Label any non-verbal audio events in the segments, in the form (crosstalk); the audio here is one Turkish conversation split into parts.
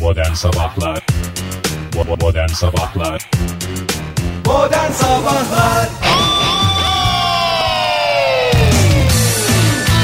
Modern Sabahlar Bo- Modern Sabahlar Modern Sabahlar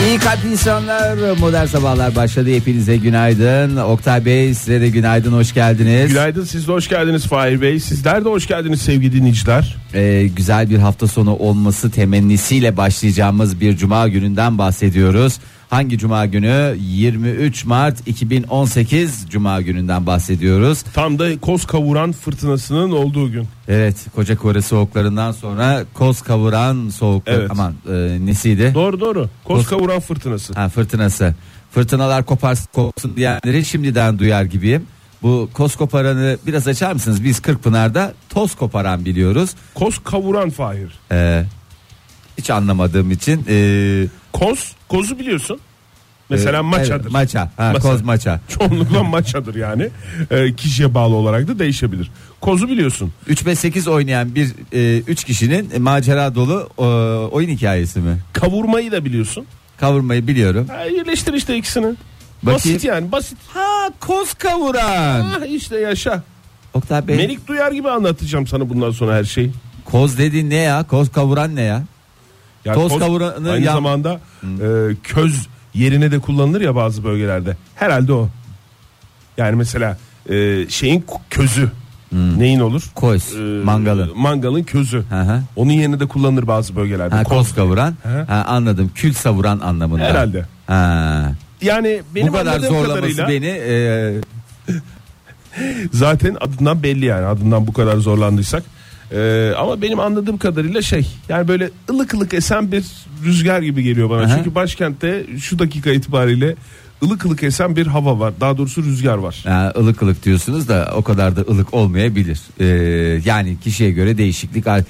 İyi kalp insanlar modern sabahlar başladı hepinize günaydın Oktay Bey size de günaydın hoş geldiniz Günaydın siz de hoş geldiniz Fahir Bey. Sizler de hoş geldiniz sevgili dinleyiciler. Ee, Güzel bir hafta sonu olması temennisiyle başlayacağımız bir cuma gününden bahsediyoruz Hangi cuma günü 23 Mart 2018 cuma gününden bahsediyoruz Tam da koz kavuran fırtınasının olduğu gün. Evet koca Kore soğuklarından sonra koz kavuran soğuklar Evet. aman e, nesiydi Doğru doğru. Koz kavuran fırtınası. Ha fırtınası. Fırtınalar kopar kopsun diyenleri şimdiden duyar gibiyim. Bu koz koparanı biraz açar mısınız? Biz Kırkpınar'da toz koparan biliyoruz. Koz kavuran Fahir. Ee, hiç anlamadığım için. ee, Koz, kozu biliyorsun. Mesela e, maçadır. evet, maça. Ha, Masa. koz maça. (laughs) Çoğunlukla maçadır yani. Ee, kişiye bağlı olarak da değişebilir. Kozu biliyorsun. 3-5-8 oynayan bir 3 kişinin e, macera dolu e, oyun hikayesi mi? Kavurmayı da biliyorsun. Kavurmayı biliyorum. Ha, Yerleştir işte ikisini. Basit yani basit. Ha koz kavuran. Ah işte yaşa. Oktay Bey Melik Duyar gibi anlatacağım sana bundan sonra her şeyi. koz dediğin ne ya? Koz kavuran ne ya? Ya Toz kavuranı Hmm. aynı yan- zamanda e, köz yerine de kullanılır ya bazı bölgelerde. Herhalde o. Yani mesela e, şeyin k- közü neyin olur? e, Koz, mangalın. Mangalın közü. Hmm. Hı hı. Onun yerine de kullanılır bazı bölgelerde. Ha, Koz. koz kavuran. Hı. Ha, anladım. Kül savuran anlamında. Herhalde. Ha. Yani benim Bu kadar anladığım zorlaması kadarıyla beni e, zaten adından belli yani adından bu kadar zorlandıysak. E, ama benim anladığım kadarıyla şey yani böyle ılık ılık esen bir rüzgar gibi geliyor bana. Hı hı. Çünkü başkentte şu dakika itibariyle ılık ılık esen bir hava var. Daha doğrusu rüzgar var. ha, ılık ılık diyorsunuz da o kadar da ılık olmayabilir. E, yani kişiye göre değişiklik ar-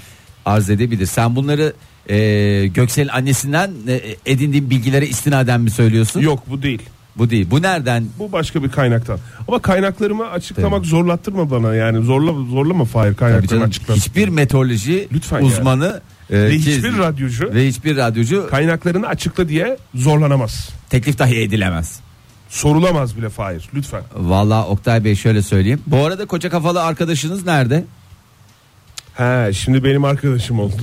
arz edebilir. Sen bunları e, Göksel'in annesinden e, edindiğin bilgilere istinaden mi söylüyorsun? Yok bu değil. Bu değil. Bu nereden? Bu başka bir kaynaktan. Ama kaynaklarımı açıklamak zorlattırma bana yani. Zorla zorlama Fahir Tabii kaynaklarını canım, açıkla. hiçbir meteoroloji Lütfen uzmanı e, Ve ki- hiçbir radyocu ve hiçbir radyocu kaynaklarını açıkla diye zorlanamaz. teklif dahi edilemez. Sorulamaz bile Fahir lütfen. Vallahi Oktay Bey şöyle söyleyeyim. Bu arada koca kafalı arkadaşınız nerede? He şimdi benim arkadaşım oldu.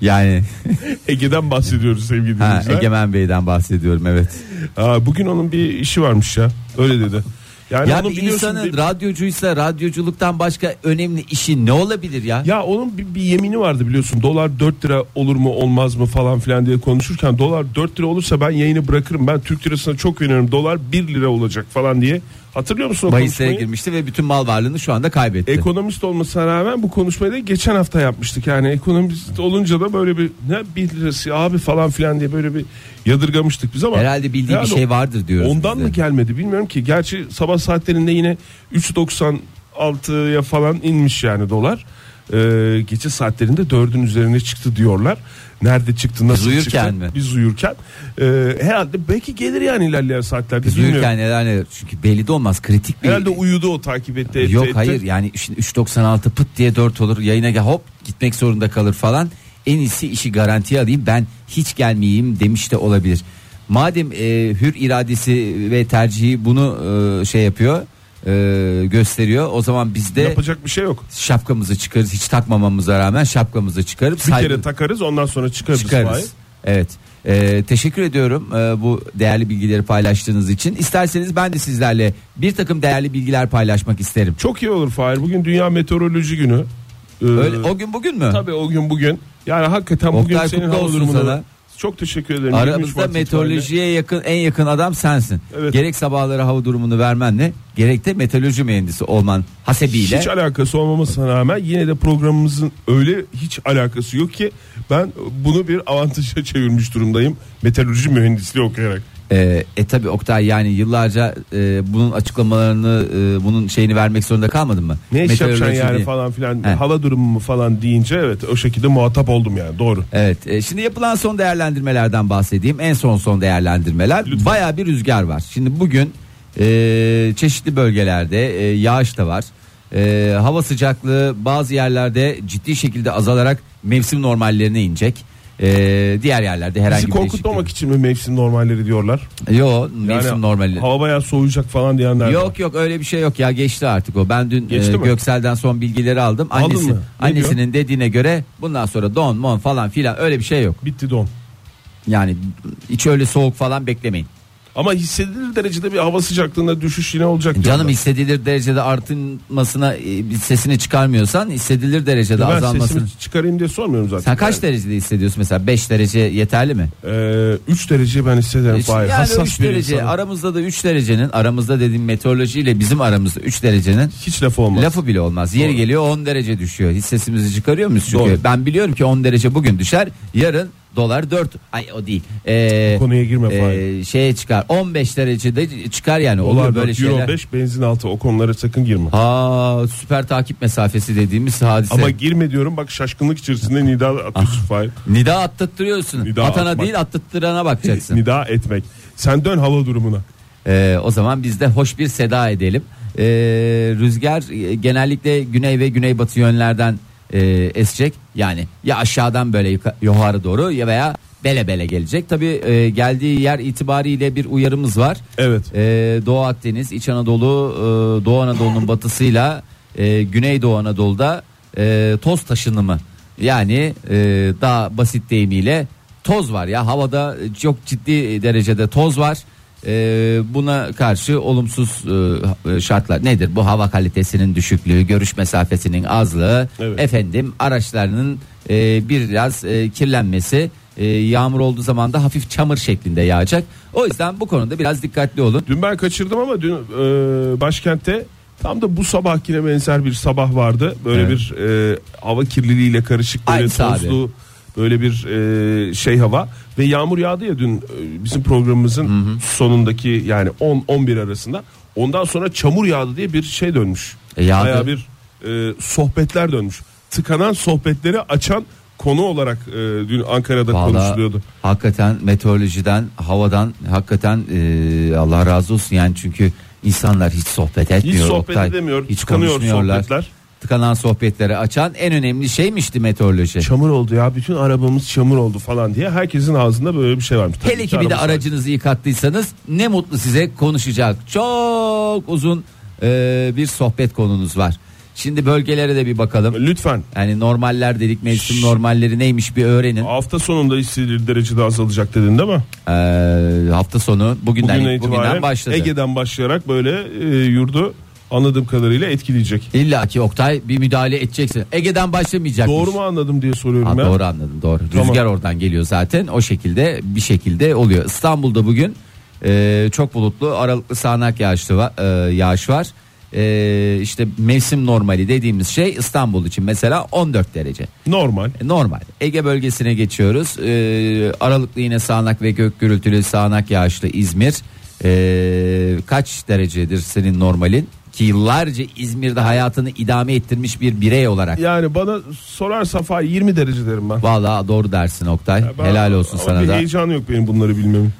Yani (laughs) Ege'den bahsediyoruz sevgili ha, dinleyiciler. Egemen Bey'den bahsediyorum evet. Aa, bugün onun bir işi varmış ya. Öyle dedi. Yani ya onun bir biliyorsun insanın bir- radyocuysa radyoculuktan başka önemli işi ne olabilir ya? Ya onun bir, bir yemini vardı biliyorsun. Dolar 4 lira olur mu olmaz mı falan filan diye konuşurken dolar 4 lira olursa ben yayını bırakırım. Ben Türk lirasına çok yönelirim. Dolar 1 lira olacak falan diye. Hatırlıyor musun o Bahislere konuşmayı? girmişti ve bütün mal varlığını şu anda kaybetti. Ekonomist olmasına rağmen bu konuşmayı da geçen hafta yapmıştık. Yani ekonomist olunca da böyle bir ne 1 lirası abi falan filan diye böyle bir yadırgamıştık biz ama. Herhalde bildiği bir Herhalde şey vardır diyoruz. Ondan biz de. mı gelmedi bilmiyorum ki. Gerçi sabah saatlerinde yine 3.96'ya falan inmiş yani dolar. Ee, gece saatlerinde 4'ün üzerine çıktı diyorlar. Nerede çıktı nasıl Biz uyurken çıktı? mi? Biz uyurken. Ee, herhalde belki gelir yani ilerleyen saatlerde. Biz bilmiyorum. uyurken neler neler- çünkü belli de olmaz kritik bir Herhalde uyudu o takip etti. etti, Yok etti. hayır yani şimdi 3.96 pıt diye 4 olur yayına gel hop gitmek zorunda kalır falan. En iyisi işi garantiye alayım ben hiç gelmeyeyim demiş de olabilir. Madem e, hür iradesi ve tercihi bunu e, şey yapıyor e, gösteriyor o zaman biz de Yapacak bir şey yok. şapkamızı çıkarız hiç takmamamıza rağmen şapkamızı çıkarıp Bir saygı- kere takarız ondan sonra çıkarız. Vay. çıkarız. Evet. Ee, teşekkür ediyorum e, bu değerli bilgileri paylaştığınız için. İsterseniz ben de sizlerle bir takım değerli bilgiler paylaşmak isterim. Çok iyi olur Fahir. Bugün Dünya Meteoroloji Günü. Ee, Öyle, o gün bugün mü? Tabii o gün bugün. Yani hakikaten bugün Oktay, senin kutlu hava olsun durumunu- sana. Çok teşekkür ederim. 23 Aramızda Mart itibariyle. meteorolojiye yakın en yakın adam sensin. Evet. Gerek sabahları hava durumunu vermenle gerek de meteoroloji mühendisi olman hasebiyle. Hiç alakası olmamasına rağmen yine de programımızın öyle hiç alakası yok ki ben bunu bir avantaja çevirmiş durumdayım. Meteoroloji mühendisliği okuyarak. Ee, e tabi Oktay yani yıllarca e, bunun açıklamalarını e, bunun şeyini vermek zorunda kalmadın mı? Ne iş Meteoroloji yapacaksın yani diye. falan filan He. hava durumu mu falan deyince evet o şekilde muhatap oldum yani doğru. Evet e, şimdi yapılan son değerlendirmelerden bahsedeyim. En son son değerlendirmeler. Lütfen. Baya bir rüzgar var. Şimdi bugün e, çeşitli bölgelerde e, yağış da var. E, hava sıcaklığı bazı yerlerde ciddi şekilde azalarak mevsim normallerine inecek. Ee, diğer yerlerde herhangi Bizi bir korkutmamak için mi mevsim normalleri diyorlar? değişiklik. Yok mevsim normali. Hava bayağı soğuyacak falan diyenler. var. Yok yok öyle bir şey yok ya geçti artık o. Ben dün Geçti e, mi? Göksel'den son bilgileri aldım. Aldın Annesi, mı? Ne annesinin dediğine göre bundan sonra don mon falan filan öyle bir şey yok. Bitti don. Yani hiç öyle soğuk falan beklemeyin. Ama hissedilir derecede bir hava sıcaklığında düşüş yine olacak. diyorlar. Canım hissedilir derecede artılmasına e, bir sesini çıkarmıyorsan hissedilir derecede ben azalmasını. sesimi çıkarayım diye sormuyorum zaten. Sen kaç derecede hissediyorsun mesela 5 derece yeterli mi? 3 e, derece ben hissederim. Şimdi Fahir. yani hassas 3 bir derece insanım. aramızda da 3 derecenin aramızda dediğim meteorolojiyle bizim aramızda 3 derecenin Hiç laf olmaz. Lafı bile olmaz. Yeri geliyor 10 derece düşüyor. Hissesimizi çıkarıyor muyuz? Çünkü Doğru. ben biliyorum ki 10 derece bugün düşer. Yarın dolar 4. Ay o değil. Ee, Konuya girme ee, Fahir. şeye çıkar. 15 derecede çıkar yani. Dolar Olur böyle dört, euro şeyler. 5 benzin altı o konulara sakın girme. Aa süper takip mesafesi dediğimiz hadise. Ama girme diyorum bak şaşkınlık içerisinde nida atıyorsun Fahir. Nida attırıyorsun. Nida Atana atmak. değil attırana bakacaksın. (laughs) Nida etmek. Sen dön hava durumuna. Ee, o zaman biz de hoş bir seda edelim. Ee, rüzgar e, genellikle güney ve güneybatı yönlerden e, esecek. Yani ya aşağıdan böyle yuka- yukarı doğru ya veya bele bele gelecek. Tabii e, geldiği yer itibariyle bir uyarımız var. Evet. Ee, Doğu Akdeniz, İç Anadolu, e, Doğu Anadolu'nun batısıyla e, Güneydoğu Anadolu'da e, toz taşınımı yani e, daha basit deyimiyle toz var ya havada çok ciddi derecede toz var. E, buna karşı olumsuz e, şartlar nedir? Bu hava kalitesinin düşüklüğü, görüş mesafesinin azlığı, Evet. efendim araçlarının e, biraz e, kirlenmesi, e, yağmur olduğu zaman da hafif çamur şeklinde yağacak. O yüzden bu konuda biraz dikkatli olun. Dün ben kaçırdım ama dün e, başkentte tam da bu sabahkine benzer bir sabah vardı. Böyle Evet. bir e, hava kirliliğiyle karışık böyle Aynısı abi. tozlu böyle bir e, şey hava ve yağmur yağdı ya dün e, bizim programımızın sonundaki yani 10 11 arasında. Ondan sonra çamur yağdı diye bir şey dönmüş. E, yağdı. Bayağı bir e, sohbetler dönmüş. Tıkanan sohbetleri açan konu olarak e, dün Ankara'da Vallahi konuşuluyordu. Hakikaten meteorolojiden, havadan hakikaten e, Allah razı olsun yani çünkü insanlar hiç sohbet etmiyor. Hiç sohbet Oktay. edemiyor. Hiç tıkanıyor konuşmuyorlar. sohbetler. Tıkanan sohbetleri açan en önemli şeymişti meteoroloji. çamur oldu ya bütün arabamız çamur oldu falan diye herkesin ağzında böyle bir şey varmış. Tabii Hele ki bir de arabası- aracınızı yıkattıysanız ne mutlu size konuşacak çok uzun e, bir sohbet konunuz var. Şimdi bölgelere de bir bakalım. Lütfen Yani normaller dedik mevsim normalleri neymiş bir öğrenin. hafta sonunda hissedilir derecede azalacak dedin değil mi? Ee, hafta sonu bugünden, Bugüne bugünden itibaren başladı. Ege'den başlayarak böyle e, yurdu anladığım kadarıyla etkileyecek. İlla ki Oktay bir müdahale edeceksin. Ege'den başlamayacak. Doğru mu anladım diye soruyorum Ha, ben. doğru anladım doğru. Tamam. Rüzgar oradan geliyor zaten. O şekilde bir şekilde oluyor. İstanbul'da bugün e, çok bulutlu aralıklı sağanak yağışlı va- e, yağış var. E, işte mevsim normali dediğimiz şey İstanbul için mesela 14 derece. Normal. E, Normal. Ege bölgesine geçiyoruz. Ee, aralıklı yine sağanak ve gök gürültülü sağanak yağışlı İzmir. Ee, kaç derecedir senin normalin? Ki yıllarca İzmir'de hayatını idame ettirmiş bir birey olarak. Yani bana sorarsa Fahir 20 derece derim ben. Vallahi doğru dersin Oktay. Ben- Helal olsun ama sana bir da. heyecanı yok benim bunları bilmemin.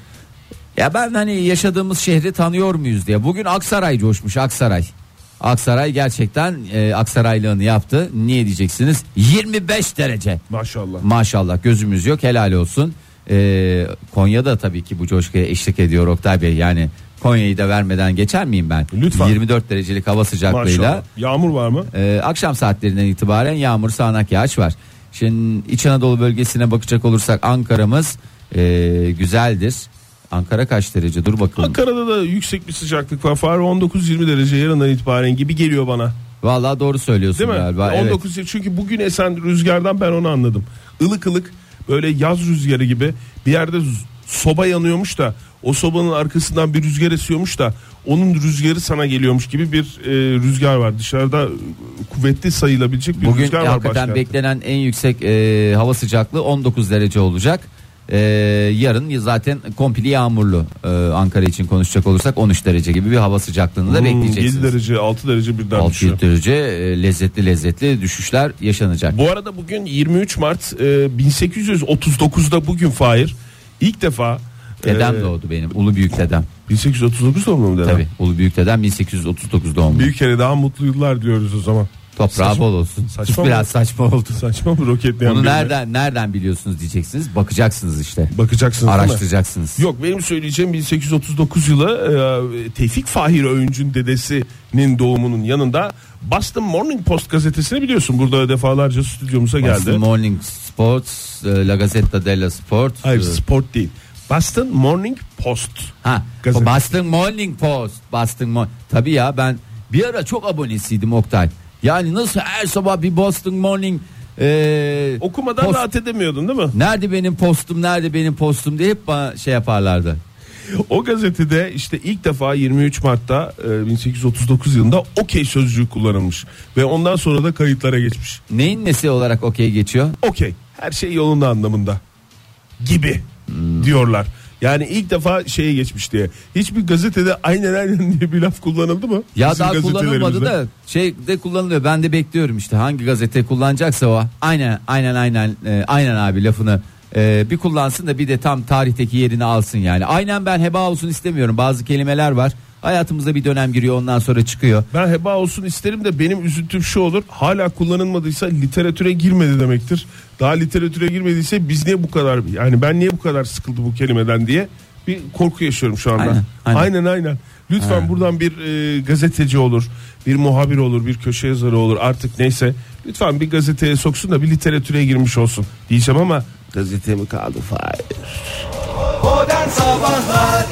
Ya ben hani yaşadığımız şehri tanıyor muyuz diye. Bugün Aksaray coşmuş Aksaray. Aksaray gerçekten e, Aksaraylığını yaptı. Niye diyeceksiniz? 25 derece. Maşallah. Maşallah gözümüz yok helal olsun. Ee, Konya'da tabii ki bu coşkuya eşlik ediyor Oktay Bey. Yani Konya'yı da vermeden geçer miyim ben? Lütfen. 24 derecelik hava sıcaklığıyla Maşallah. Yağmur var mı? e, akşam saatlerinden itibaren yağmur sağanak yağış var. Şimdi İç Anadolu bölgesine bakacak olursak Ankara'mız e, güzeldir. Ankara kaç derece dur bakalım. Ankara'da da yüksek bir sıcaklık var. Fahir 19-20 derece yarından itibaren gibi geliyor bana. Vallahi doğru söylüyorsun Değil mi? galiba. evet. 19 çünkü bugün esen rüzgardan ben onu anladım. Ilık ılık böyle yaz rüzgarı gibi bir yerde z- soba yanıyormuş da o sobanın arkasından bir rüzgar esiyormuş da onun rüzgarı sana geliyormuş gibi bir e, rüzgar var. Dışarıda e, kuvvetli sayılabilecek bir Bugün rüzgar var hakikaten başkentte. beklenen en yüksek e, hava sıcaklığı 19 derece olacak. E, yarın zaten komple yağmurlu E, Ankara için konuşacak olursak 13 derece gibi bir hava sıcaklığını da Hmm, 7 bekleyeceksiniz. derece 6 derece birden 6 düşüyor. derece e, lezzetli lezzetli düşüşler yaşanacak. Bu arada bugün 23 Mart e, 1839'da bugün Fahir ilk defa e, Dedem doğdu benim ulu büyük dedem. 1839 doğumlu mu dedem? Tabii ulu büyük dedem 1839 doğumlu. Bir kere daha mutlu yıllar diyoruz o zaman. Toprağı Saçma- bol olsun. saçma Sus (laughs) mı? biraz saçma oldu. Saçma bu roketleyen Bunu birine. nereden nereden biliyorsunuz diyeceksiniz. Bakacaksınız işte. Bakacaksınız değil mi? Araştıracaksınız. Yok benim söyleyeceğim 1839 yılı e, Tevfik Fahir Öğüncü'nün dedesinin doğumunun yanında Boston Morning Post gazetesini biliyorsun. Burada defalarca stüdyomuza geldi. Boston Morning Sports, e, La Gazzetta della Sport. Hayır e, sport değil. Boston Morning Post. Ha, Gazete. Boston Morning Post. Boston Mo- Tabii ya ben bir ara çok abonesiydim Oktay. Yani nasıl her sabah bir Boston Morning e, Okumadan Post- rahat edemiyordun değil mi? Nerede benim postum, nerede benim postum diye hep bana şey yaparlardı. O gazetede işte ilk defa 23 Mart'ta e, 1839 yılında okey sözcüğü kullanılmış. Ve ondan sonra da kayıtlara geçmiş. Neyin nesi olarak okey geçiyor? okey her şey yolunda anlamında gibi diyorlar. Yani ilk defa şeye geçmiş diye. Hiçbir gazetede aynen aynen diye bir laf kullanıldı mı? Ya Bizim daha kullanılmadı gazetelerimizde. da şey de kullanılıyor. Ben de bekliyorum işte hangi gazete kullanacaksa o. Aynen aynen aynen e, aynen abi lafını e, bir kullansın da bir de tam tarihteki yerini alsın yani. Aynen ben heba olsun istemiyorum. Bazı kelimeler var. Hayatımıza bir dönem giriyor ondan sonra çıkıyor. Ben heba olsun isterim de benim üzüntüm şu olur. Hala kullanılmadıysa literatüre girmedi demektir. Daha literatüre girmediyse biz niye bu kadar yani ben niye bu kadar sıkıldı bu kelimeden diye bir korku yaşıyorum şu anda. Aynen, Aynen aynen. aynen. Lütfen buradan bir e, gazeteci olur, bir muhabir olur, bir köşe yazarı olur artık neyse. Lütfen bir gazeteye soksun da bir literatüre girmiş olsun diyeceğim ama gazete mi kaldı (laughs) Fahir? Modern Sabahlar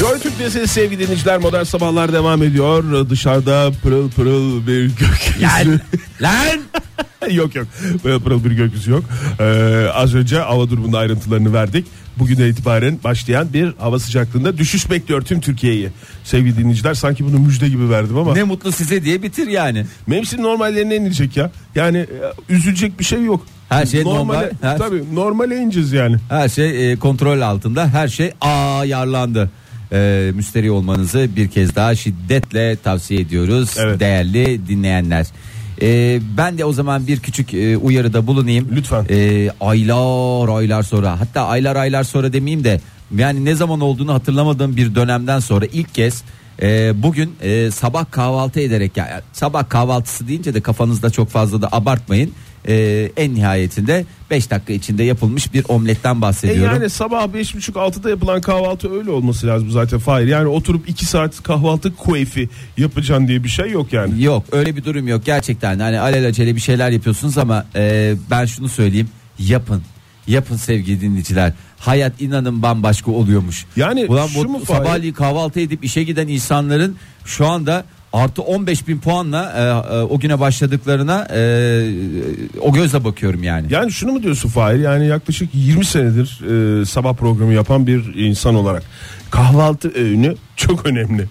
Joy Türk'te siz sevgili dinleyiciler modern sabahlar devam ediyor. Dışarıda pırıl pırıl bir gökyüzü. Lan lan (laughs) yok yok. Böyle pırıl bir gökyüzü yok. Ee, az önce hava durumunun ayrıntılarını verdik. Bugüne itibaren başlayan bir hava sıcaklığında düşüş bekliyor tüm Türkiye'yi. Sevgili dinleyiciler sanki bunu müjde gibi verdim ama. ne mutlu size diye bitir yani. Mevsim normallerine inecek ya. Yani e, üzülecek bir şey yok. Her şey normal, normale, her- Tabii normale ineceğiz yani. Her şey e, kontrol altında. Her şey ayarlandı. E, müsterih olmanızı bir kez daha şiddetle tavsiye ediyoruz Evet. değerli dinleyenler. E, ben de o zaman bir küçük e, uyarıda bulunayım. Lütfen. E, aylar aylar sonra hatta aylar aylar sonra demeyeyim de yani ne zaman olduğunu hatırlamadığım bir dönemden sonra ilk kez e, bugün e, sabah kahvaltı ederek ya- ya sabah kahvaltısı deyince de kafanızda çok fazla da abartmayın. E, en nihayetinde 5 dakika içinde yapılmış bir omletten E bahsediyorum. yani sabah 5.30-6'da yapılan kahvaltı öyle olması lazım zaten Fahir. Yani oturup 2 saat kahvaltı keyfi yapacaksın diye bir şey yok yani. Yok öyle bir durum yok gerçekten hani alelacele bir şeyler yapıyorsunuz ama e, ben şunu söyleyeyim yapın yapın sevgili dinleyiciler hayat inanın bambaşka oluyormuş. Yani Ulan bu şu mu Fahir? sabahleyin kahvaltı edip işe giden insanların şu anda artı 15 bin puanla e, e, o güne başladıklarına e, e, o gözle bakıyorum yani. Yani şunu mu diyorsun Fahir? Yani yaklaşık 20 senedir e, sabah programı yapan bir insan olarak kahvaltı öğünü çok önemli.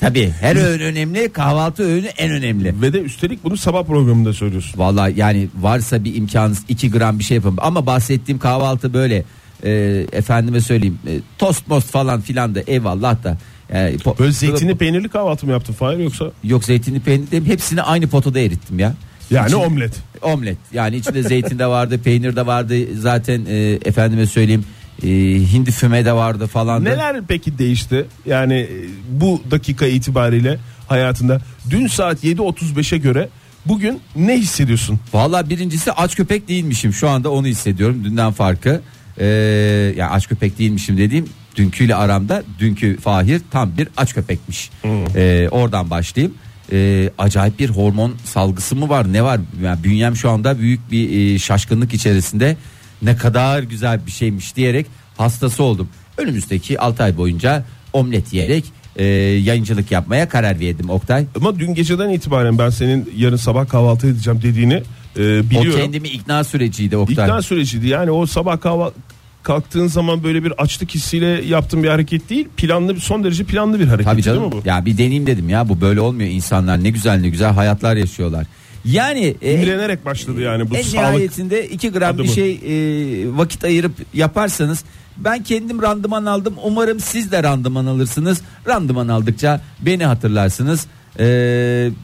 Tabii her öğün önemli kahvaltı öğünü en önemli. Ve de üstelik bunu sabah programında söylüyorsun. Vallahi yani varsa bir imkanınız 2 gram bir şey yapın. Ama bahsettiğim kahvaltı böyle e, efendime söyleyeyim e, tost most falan filan da eyvallah da. E, po- Böyle zeytinli peynirli kahvaltı mı yaptın Fahir yoksa? Yok zeytinli peynir değil, hepsini aynı potada erittim ya. Yani İçinde- omlet. Omlet yani içinde zeytin de vardı (laughs) peynir de vardı zaten e, efendime söyleyeyim e, hindi füme de vardı falan. da. Neler peki değişti? Yani e, bu dakika itibariyle hayatında dün saat 7.35'e göre bugün ne hissediyorsun? Valla birincisi aç köpek değilmişim şu anda onu hissediyorum dünden farkı. Ee, yani aç köpek değilmişim dediğim dünküyle aramda dünkü Fahir tam bir aç köpekmiş. Hmm. Ee, oradan başlayayım. Ee, acayip bir hormon salgısı mı var ne var yani bünyem şu anda büyük bir e, şaşkınlık içerisinde ne kadar güzel bir şeymiş diyerek hastası oldum. Önümüzdeki 6 ay boyunca omlet yiyerek e, yayıncılık yapmaya karar verdim Oktay. Ama dün geceden itibaren ben senin yarın sabah kahvaltı edeceğim dediğini e, O biliyorum. kendimi ikna süreciydi Oktay. İkna süreciydi. Yani o sabah kahva kalktığın zaman böyle bir açlık hissiyle yaptığın bir hareket değil. Planlı son derece planlı bir hareket E, Tabii değil mi canım. bu? Ya bir deneyim dedim ya bu böyle olmuyor insanlar ne güzel ne güzel hayatlar yaşıyorlar. Yani e, İmrenerek başladı yani bu en sağlık. nihayetinde 2 gram bir adımı. şey e, vakit ayırıp yaparsanız ben kendim randıman aldım. Umarım siz de randıman alırsınız. Randıman aldıkça beni hatırlarsınız. E,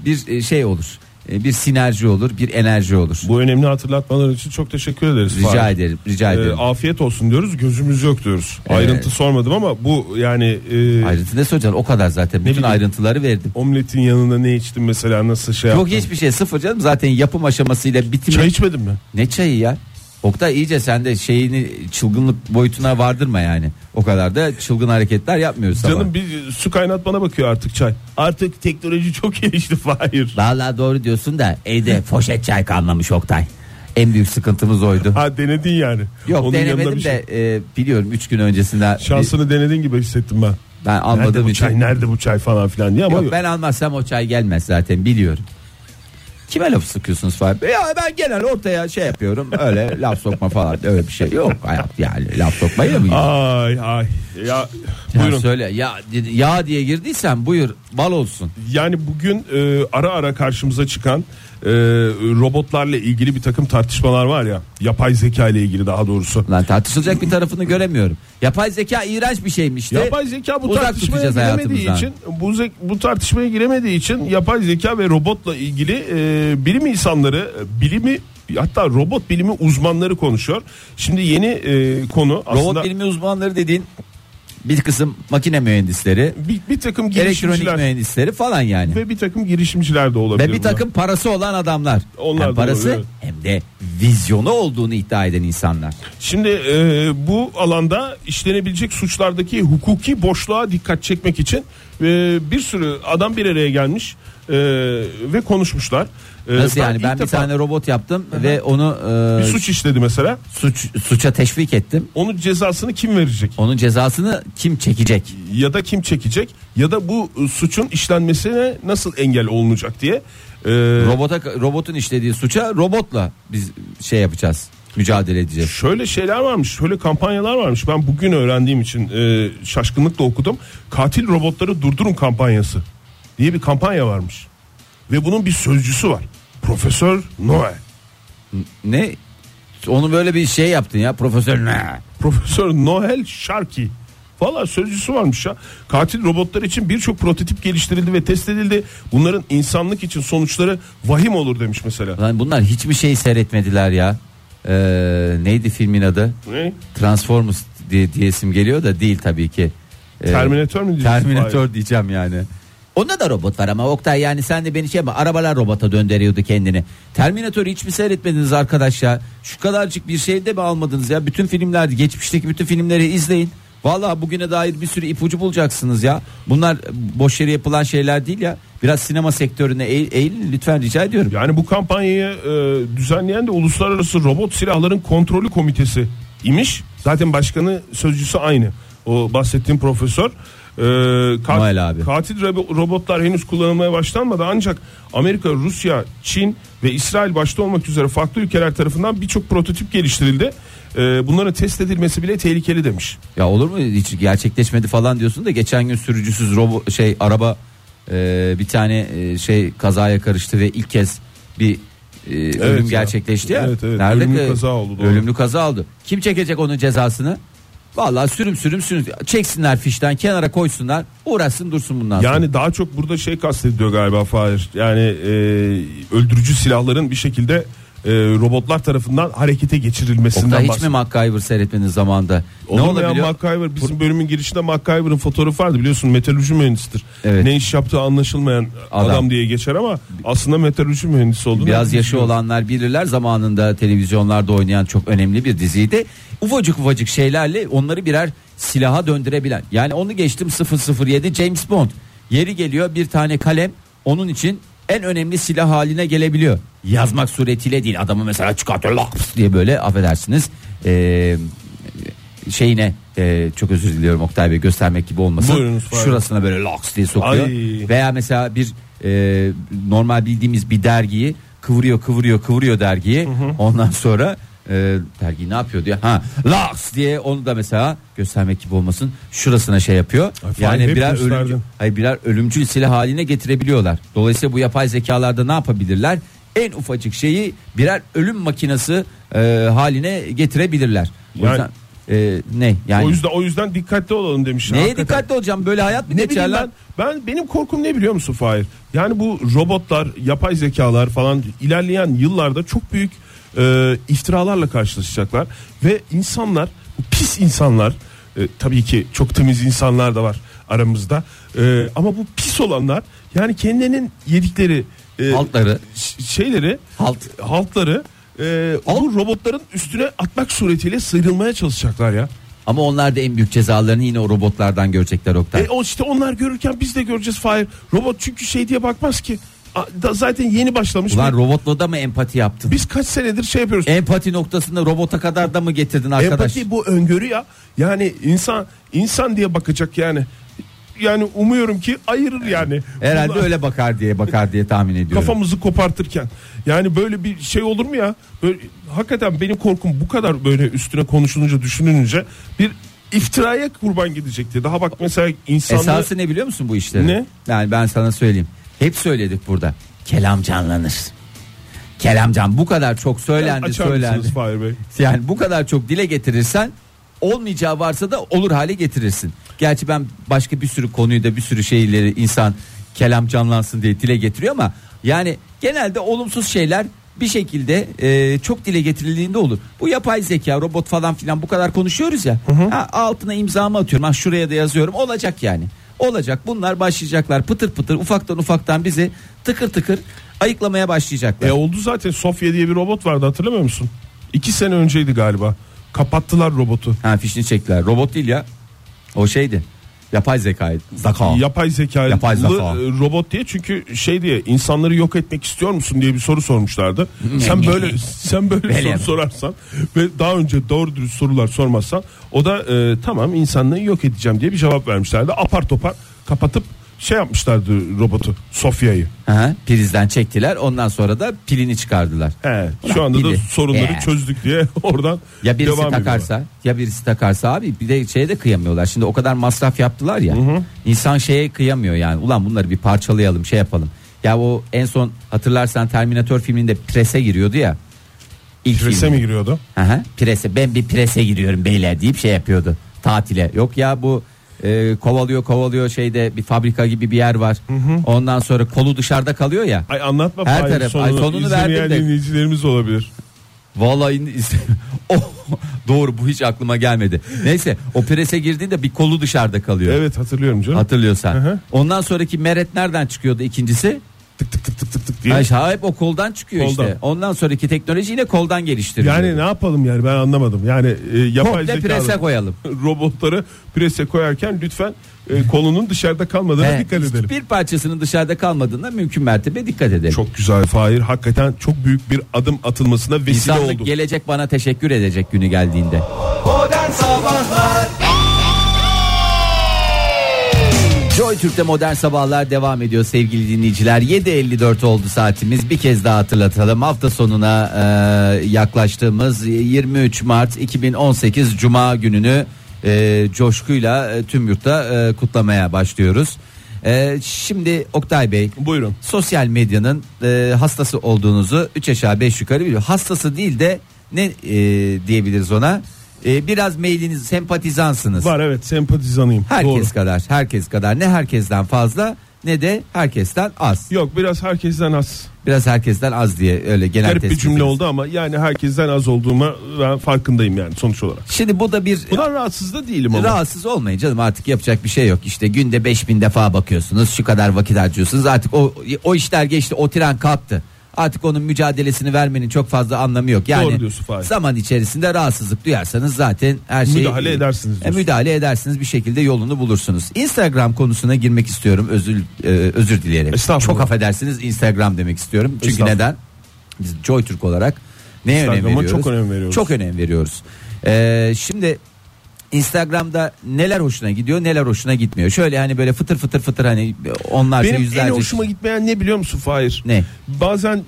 bir e, şey olur. e, bir sinerji olur, bir enerji olur. Bu önemli hatırlatmalar için çok teşekkür ederiz. Rica Fahir. ederim, rica Ee, ederim. afiyet olsun diyoruz gözümüz yok diyoruz. Evet. Ayrıntı sormadım ama bu yani e, Ayrıntı ne soracaksın? O kadar zaten. Bütün bileyim. ayrıntıları verdim. omletin yanında ne içtin mesela nasıl şey Yok yaptın? hiçbir şey sıfır canım. Zaten yapım aşamasıyla bitimi. Çay içmedin mi? Ne çayı ya? Oktay iyice sen de şeyini çılgınlık boyutuna vardırma yani. O kadar da çılgın hareketler yapmıyoruz sabah. Canım bir su kaynatmana bakıyor artık çay. Artık teknoloji çok gelişti Fahir. Vallahi doğru diyorsun da evde poşet çay kalmamış Oktay. En büyük sıkıntımız oydu. Ha denedin yani. Yok Onun yanında denemedim bir de şey- e, biliyorum 3 gün öncesinden Şansını denedin gibi hissettim ben. ben Nerede almadığım bu için. çay? Nerede bu çay falan filan diye ama Yok yok. ben almazsam o çay gelmez zaten biliyorum. Kime laf sıkıyorsunuz falan? Ya ben genel ortaya şey yapıyorum. Öyle laf sokma falan öyle bir şey yok. Hayat yani laf sokmayı da mı? Ay ay. Ya Ya şey- buyurun. söyle ya ya diye girdiysen buyur bal olsun. Yani bugün e, ara ara karşımıza çıkan e, robotlarla ilgili bir takım tartışmalar var ya. Yapay zeka ile ilgili daha doğrusu. Lan tartışılacak bir tarafını göremiyorum. Yapay zeka iğrenç bir şeymiş de. yapay zeka bu e, uzak tartışmaya tutacağız giremediği hayatımızdan. için bu, zek- bu tartışmaya giremediği için yapay zeka ve robotla ilgili e, bilim insanları e, bilimi hatta robot bilimi uzmanları konuşuyor. Şimdi yeni e, konu aslında Robot bilimi uzmanları dediğin bir kısım makine mühendisleri, bir, bir takım elektronik girişimciler mühendisleri falan yani. Ve, ve bir takım girişimciler de olabilir. bir bunlar. takım parası olan adamlar. Onlar hem da parası oluyor. hem de vizyonu olduğunu iddia eden insanlar. Şimdi e, bu alanda işlenebilecek suçlardaki hukuki boşluğa dikkat çekmek için e, bir sürü adam bir araya gelmiş e, ve konuşmuşlar. E, Nasıl yani ilk ben bir defa tane robot yaptım ve onu e, bir suç işledi mesela. suç suça teşvik ettim. Onun cezasını kim verecek? Onun cezasını kim çekecek? Ya da kim çekecek? Ya da bu e, suçun işlenmesine nasıl engel olunacak diye. E, Robota robotun işlediği suça robotla biz şey yapacağız. Mücadele edeceğiz. Şöyle şeyler varmış, şöyle kampanyalar varmış. Ben bugün öğrendiğim için e, şaşkınlıkla okudum. Katil robotları durdurun kampanyası diye bir kampanya varmış. Ve bunun bir sözcüsü var. Profesör Noel. Ne? Onu böyle bir şey yaptın ya profesör ne? Profesör Noel Sharkey. Valla sözcüsü varmış ya. Katil robotlar için birçok prototip geliştirildi ve test edildi. Bunların insanlık için sonuçları vahim olur demiş mesela. Lan bunlar hiçbir şey seyretmediler ya. Ee, neydi filmin adı? Ne? Transformers diye, diyesim geliyor da değil tabii ki. Ee, Terminator mu diyeceksin? Terminator diyeceğim yani. Onda da robot var ama Oktay yani sen de beni şey yapma arabalar robota döndürüyordu kendini. Terminator'u hiç mi seyretmediniz arkadaş ya? Şu kadarcık bir şey de mi almadınız ya? Bütün filmler geçmişteki bütün filmleri izleyin. Valla bugüne dair bir sürü ipucu bulacaksınız ya. Bunlar boş yere yapılan şeyler değil ya. Biraz sinema sektörüne eğ- eğilin lütfen rica ediyorum. Yani bu kampanyayı e, düzenleyen de Uluslararası Robot Silahların Kontrolü Komitesi imiş. Zaten başkanı sözcüsü aynı. O bahsettiğim profesör. E, kat- Noel abi. Katil robo- robotlar henüz kullanılmaya başlanmadı ancak Amerika, Rusya, Çin ve İsrail başta olmak üzere farklı ülkeler tarafından birçok prototip geliştirildi. E, bunların test edilmesi bile tehlikeli demiş. Ya olur mu hiç gerçekleşmedi falan diyorsun da geçen gün sürücüsüz robo şey araba e, bir tane e, şey kazaya karıştı ve ilk kez bir e, ölüm ya. gerçekleşti ya. Evet, evet. Nerede Ölümlü ki- kaza oldu, doğru. Ölümlü kaza oldu. Kim çekecek onun cezasını? Vallahi sürüm sürüm sürüm çeksinler fişten kenara koysunlar uğraşsın dursun bundan sonra. Yani daha çok burada şey kastediyor galiba Fahir. Yani e, öldürücü silahların bir şekilde e, robotlar tarafından harekete geçirilmesinden Oktay hiç mi bahsediyor. MacGyver seyretmenin zamanda? Olur ne mu ya olabiliyor? MacGyver bizim bölümün girişinde MacGyver'ın fotoğrafı vardı biliyorsun metalürji mühendisidir. Evet. Ne iş yaptığı anlaşılmayan adam, Adam. diye geçer ama aslında metalürji mühendisi olduğunu Biraz yaşı düşünüyorum. olanlar bilirler zamanında televizyonlarda oynayan çok önemli bir diziydi. Ufacık ufacık şeylerle onları birer silaha döndürebilen. Yani onu geçtim 007 James Bond. Yeri geliyor bir tane kalem onun için en önemli silah haline gelebiliyor. Yazmak suretiyle değil adamı mesela çıkartıyor laps diye böyle affedersiniz. Ee, şeyine ee, çok özür diliyorum Oktay Bey göstermek gibi olmasın. Buyurunuz, Fahir. Şurasına böyle laks diye sokuyor. Ay. Veya mesela bir e, normal bildiğimiz bir dergiyi kıvırıyor kıvırıyor kıvırıyor dergiyi. Ondan sonra e, dergi ne yapıyor diye ha laks diye onu da mesela göstermek gibi olmasın şurasına şey yapıyor. Ay, Fahir, yani hep birer gösterdin. ölümcül, hayır, birer ölümcül silah haline getirebiliyorlar. Dolayısıyla bu yapay zekalarda ne yapabilirler? En ufacık şeyi birer ölüm makinesi e, haline getirebilirler. O Yani yüzden e, ne yani O yüzden o yüzden dikkatli olalım demişler. neye Hakikaten. dikkatli olacağım böyle hayat mı Ne bileyim geçerler? ben, ben benim korkum ne biliyor musun Fahir? Yani bu robotlar, yapay zekalar falan ilerleyen yıllarda çok büyük e, iftiralarla karşılaşacaklar ve insanlar, bu pis insanlar, e, tabii ki çok temiz insanlar da var aramızda. E, ama bu pis olanlar yani kendilerinin yedikleri e, Altları. ş- şeyleri, Halt. haltları e, bu robotların üstüne atmak suretiyle sıyrılmaya çalışacaklar ya. Ama onlar da en büyük cezalarını yine o robotlardan görecekler Oktay. E o işte onlar görürken biz de göreceğiz Fahir. Robot çünkü şey diye bakmaz ki. A- Da zaten yeni başlamış. Ulan Bir- robotla da mı empati yaptın? Biz kaç senedir şey yapıyoruz. Empati noktasında robota kadar da mı getirdin arkadaş? Empati bu öngörü ya. Yani insan insan diye bakacak yani. Yani umuyorum ki ayırır yani. Herhalde Bunlar- öyle bakar diye bakar diye tahmin ediyorum. Kafamızı kopartırken. Yani böyle bir şey olur mu ya? Böyle, hakikaten benim korkum bu kadar böyle üstüne konuşulunca düşünülünce bir iftiraya kurban gidecekti. Daha bak mesela insanlar Esası ne biliyor musun bu işlerin? Ne? Yani ben sana söyleyeyim. Hep söyledik burada. Kelam canlanır. Kelam can bu kadar çok söylendi açar mısınız söylendi. Fahir Bey? Yani bu kadar çok dile getirirsen olmayacağı varsa da olur hale getirirsin. Gerçi ben başka bir sürü konuyu da bir sürü şeyleri insan kelam canlansın diye dile getiriyor ama yani genelde olumsuz şeyler bir şekilde e, çok dile getirildiğinde olur. Bu yapay zeka, robot falan filan bu kadar konuşuyoruz ya. Ha, altına imzamı atıyorum. Ha, şuraya da yazıyorum. Olacak yani. Olacak. Bunlar başlayacaklar. Pıtır pıtır ufaktan ufaktan bizi tıkır tıkır ayıklamaya başlayacaklar. E oldu zaten Sofya diye bir robot vardı hatırlamıyor musun? İki sene önceydi galiba. Kapattılar robotu. Ha fişini çektiler. Robot değil ya. O şeydi. Yapay zekaydı. Zaka. Yapay zekalı Yapay zeka. e, robot diye çünkü şey diye insanları yok etmek istiyor musun diye bir soru sormuşlardı. sen böyle sen böyle Böyle. soru sorarsan ve daha önce doğru dürüst sorular sormazsan o da e, tamam insanlığı yok edeceğim diye bir cevap vermişlerdi. Apar topar kapatıp şey yapmışlardı robotu Sofya'yı. Aha, prizden çektiler. Ondan sonra da pilini çıkardılar. He, şu Ulan anda da pili. sorunları Ee. çözdük diye (laughs) oradan Ya birisi devam ediyorlar. takarsa, ya birisi takarsa abi bir de şeye de kıyamıyorlar. Şimdi o kadar masraf yaptılar ya. İnsan şeye kıyamıyor yani. Ulan bunları bir parçalayalım, şey yapalım. Ya o en son hatırlarsan Terminator filminde prese giriyordu ya. İlk Strese filmi. mi giriyordu? Aha, prese ben bir prese giriyorum beyler deyip şey yapıyordu tatile yok ya bu e, kovalıyor kovalıyor şeyde bir fabrika gibi bir yer var ondan sonra kolu dışarıda kalıyor ya Ay anlatma Her Fahir, taraf- sonunu, ay sonunu izlemeyen verdim de. dinleyicilerimiz olabilir. vallahi in- (laughs) is- Oh, doğru bu hiç aklıma gelmedi neyse o prese girdiğinde bir kolu dışarıda kalıyor Evet hatırlıyorum canım. hatırlıyorsan Hı hı. ondan sonraki meret nereden çıkıyordu ikincisi tık tık tık tık tık tık diye. Ay, hep o koldan çıkıyor Koldan. işte ondan sonraki teknoloji yine koldan geliştiriliyor yani ne yapalım yani ben anlamadım. Yani e, yapay komple prese zeka koyalım (laughs) robotları prese koyarken lütfen e, kolunun dışarıda kalmadığına Evet, dikkat edelim. Bir parçasının dışarıda kalmadığına mümkün mertebe dikkat edelim. Çok güzel Fahir. Hakikaten çok büyük bir adım atılmasına vesile İnsanlık oldu. gelecek bana teşekkür edecek günü geldiğinde. Modern Sabahlar Joy Türk'te modern sabahlar devam ediyor sevgili dinleyiciler. 7.54 oldu saatimiz. Bir kez daha hatırlatalım. Hafta sonuna e, yaklaştığımız 23 Mart 2018 Cuma gününü e, coşkuyla e, tüm yurtta e, kutlamaya başlıyoruz. E, şimdi Oktay Bey. Buyurun. sosyal medyanın e, hastası olduğunuzu 3 aşağı 5 yukarı biliyor. Hastası değil de ne e, diyebiliriz ona? E, biraz mailiniz sempatizansınız. Var evet sempatizanıyım. herkes Doğru. kadar, herkes kadar. Ne herkesten fazla ne de herkesten az. Yok biraz herkesten az. Biraz herkesten az diye öyle genel Garip bir tespit cümle ediyoruz. oldu ama yani herkesten az olduğuma ben farkındayım yani sonuç olarak. Şimdi bu da bir Bundan rahatsız da değilim ama. Rahatsız olmayın canım artık yapacak bir şey yok. İşte günde 5000 defa bakıyorsunuz. Şu kadar vakit harcıyorsunuz. Artık o o işler geçti. O tren kalktı. Artık onun mücadelesini vermenin çok fazla anlamı yok. Yani Doğru diyorsun Fahir. zaman içerisinde rahatsızlık duyarsanız zaten her şeyi Müdahale edersiniz E, diyorsun. müdahale edersiniz bir şekilde yolunu bulursunuz. Instagram konusuna girmek istiyorum. Özür e, özür dileyerek. Estağfurullah. Çok affedersiniz Instagram demek istiyorum. Çünkü Estağfurullah. neden? Biz Joytürk olarak neye önem Instagram'a veriyoruz? çok önem veriyoruz. Çok önem veriyoruz. E, şimdi Instagram'da neler hoşuna gidiyor neler hoşuna gitmiyor. Şöyle hani böyle fıtır fıtır fıtır hani onlarca Benim yüzlerce. en hoşuma gitmeyen ne biliyor musun Fahir? Ne? Bazen e,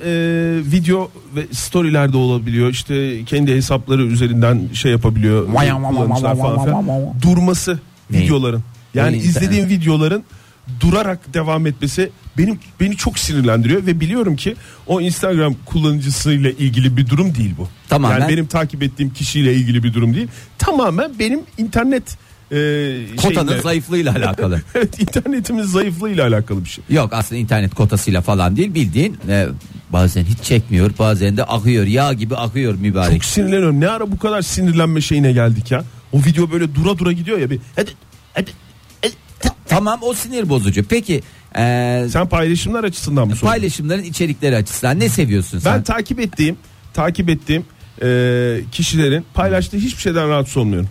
video ve storylerde olabiliyor. İşte kendi hesapları üzerinden şey yapabiliyor. Vay, vay, vay, kullanıcılar vay, vay, falan vay, filan. vay, vay. Durması Ne? videoların. Yani (laughs) Ne? izlediğin videoların durarak devam etmesi benim beni çok sinirlendiriyor ve biliyorum ki o Instagram kullanıcısıyla ilgili bir durum değil bu. Tamamen- Yani benim takip ettiğim kişiyle ilgili bir durum değil. Tamamen benim internet e, Kotanın şeyimle- zayıflığıyla alakalı. (laughs) Evet internetimin zayıflığıyla alakalı bir şey. Yok aslında internet kotasıyla falan değil bildiğin e, bazen hiç çekmiyor bazen de akıyor yağ gibi akıyor mübarek. Çok sinirleniyorum. Ne ara bu kadar sinirlenme şeyine geldik ya? O video böyle dura dura gidiyor ya bir. Hadi, hadi, hadi. E, Tamam o sinir bozucu. Peki e, Sen paylaşımlar açısından mı sordun? paylaşımların içerikleri açısından ne seviyorsun Ben sen? takip ettiğim, takip ettiğim e, kişilerin paylaştığı hiçbir şeyden rahatsız olmuyorum.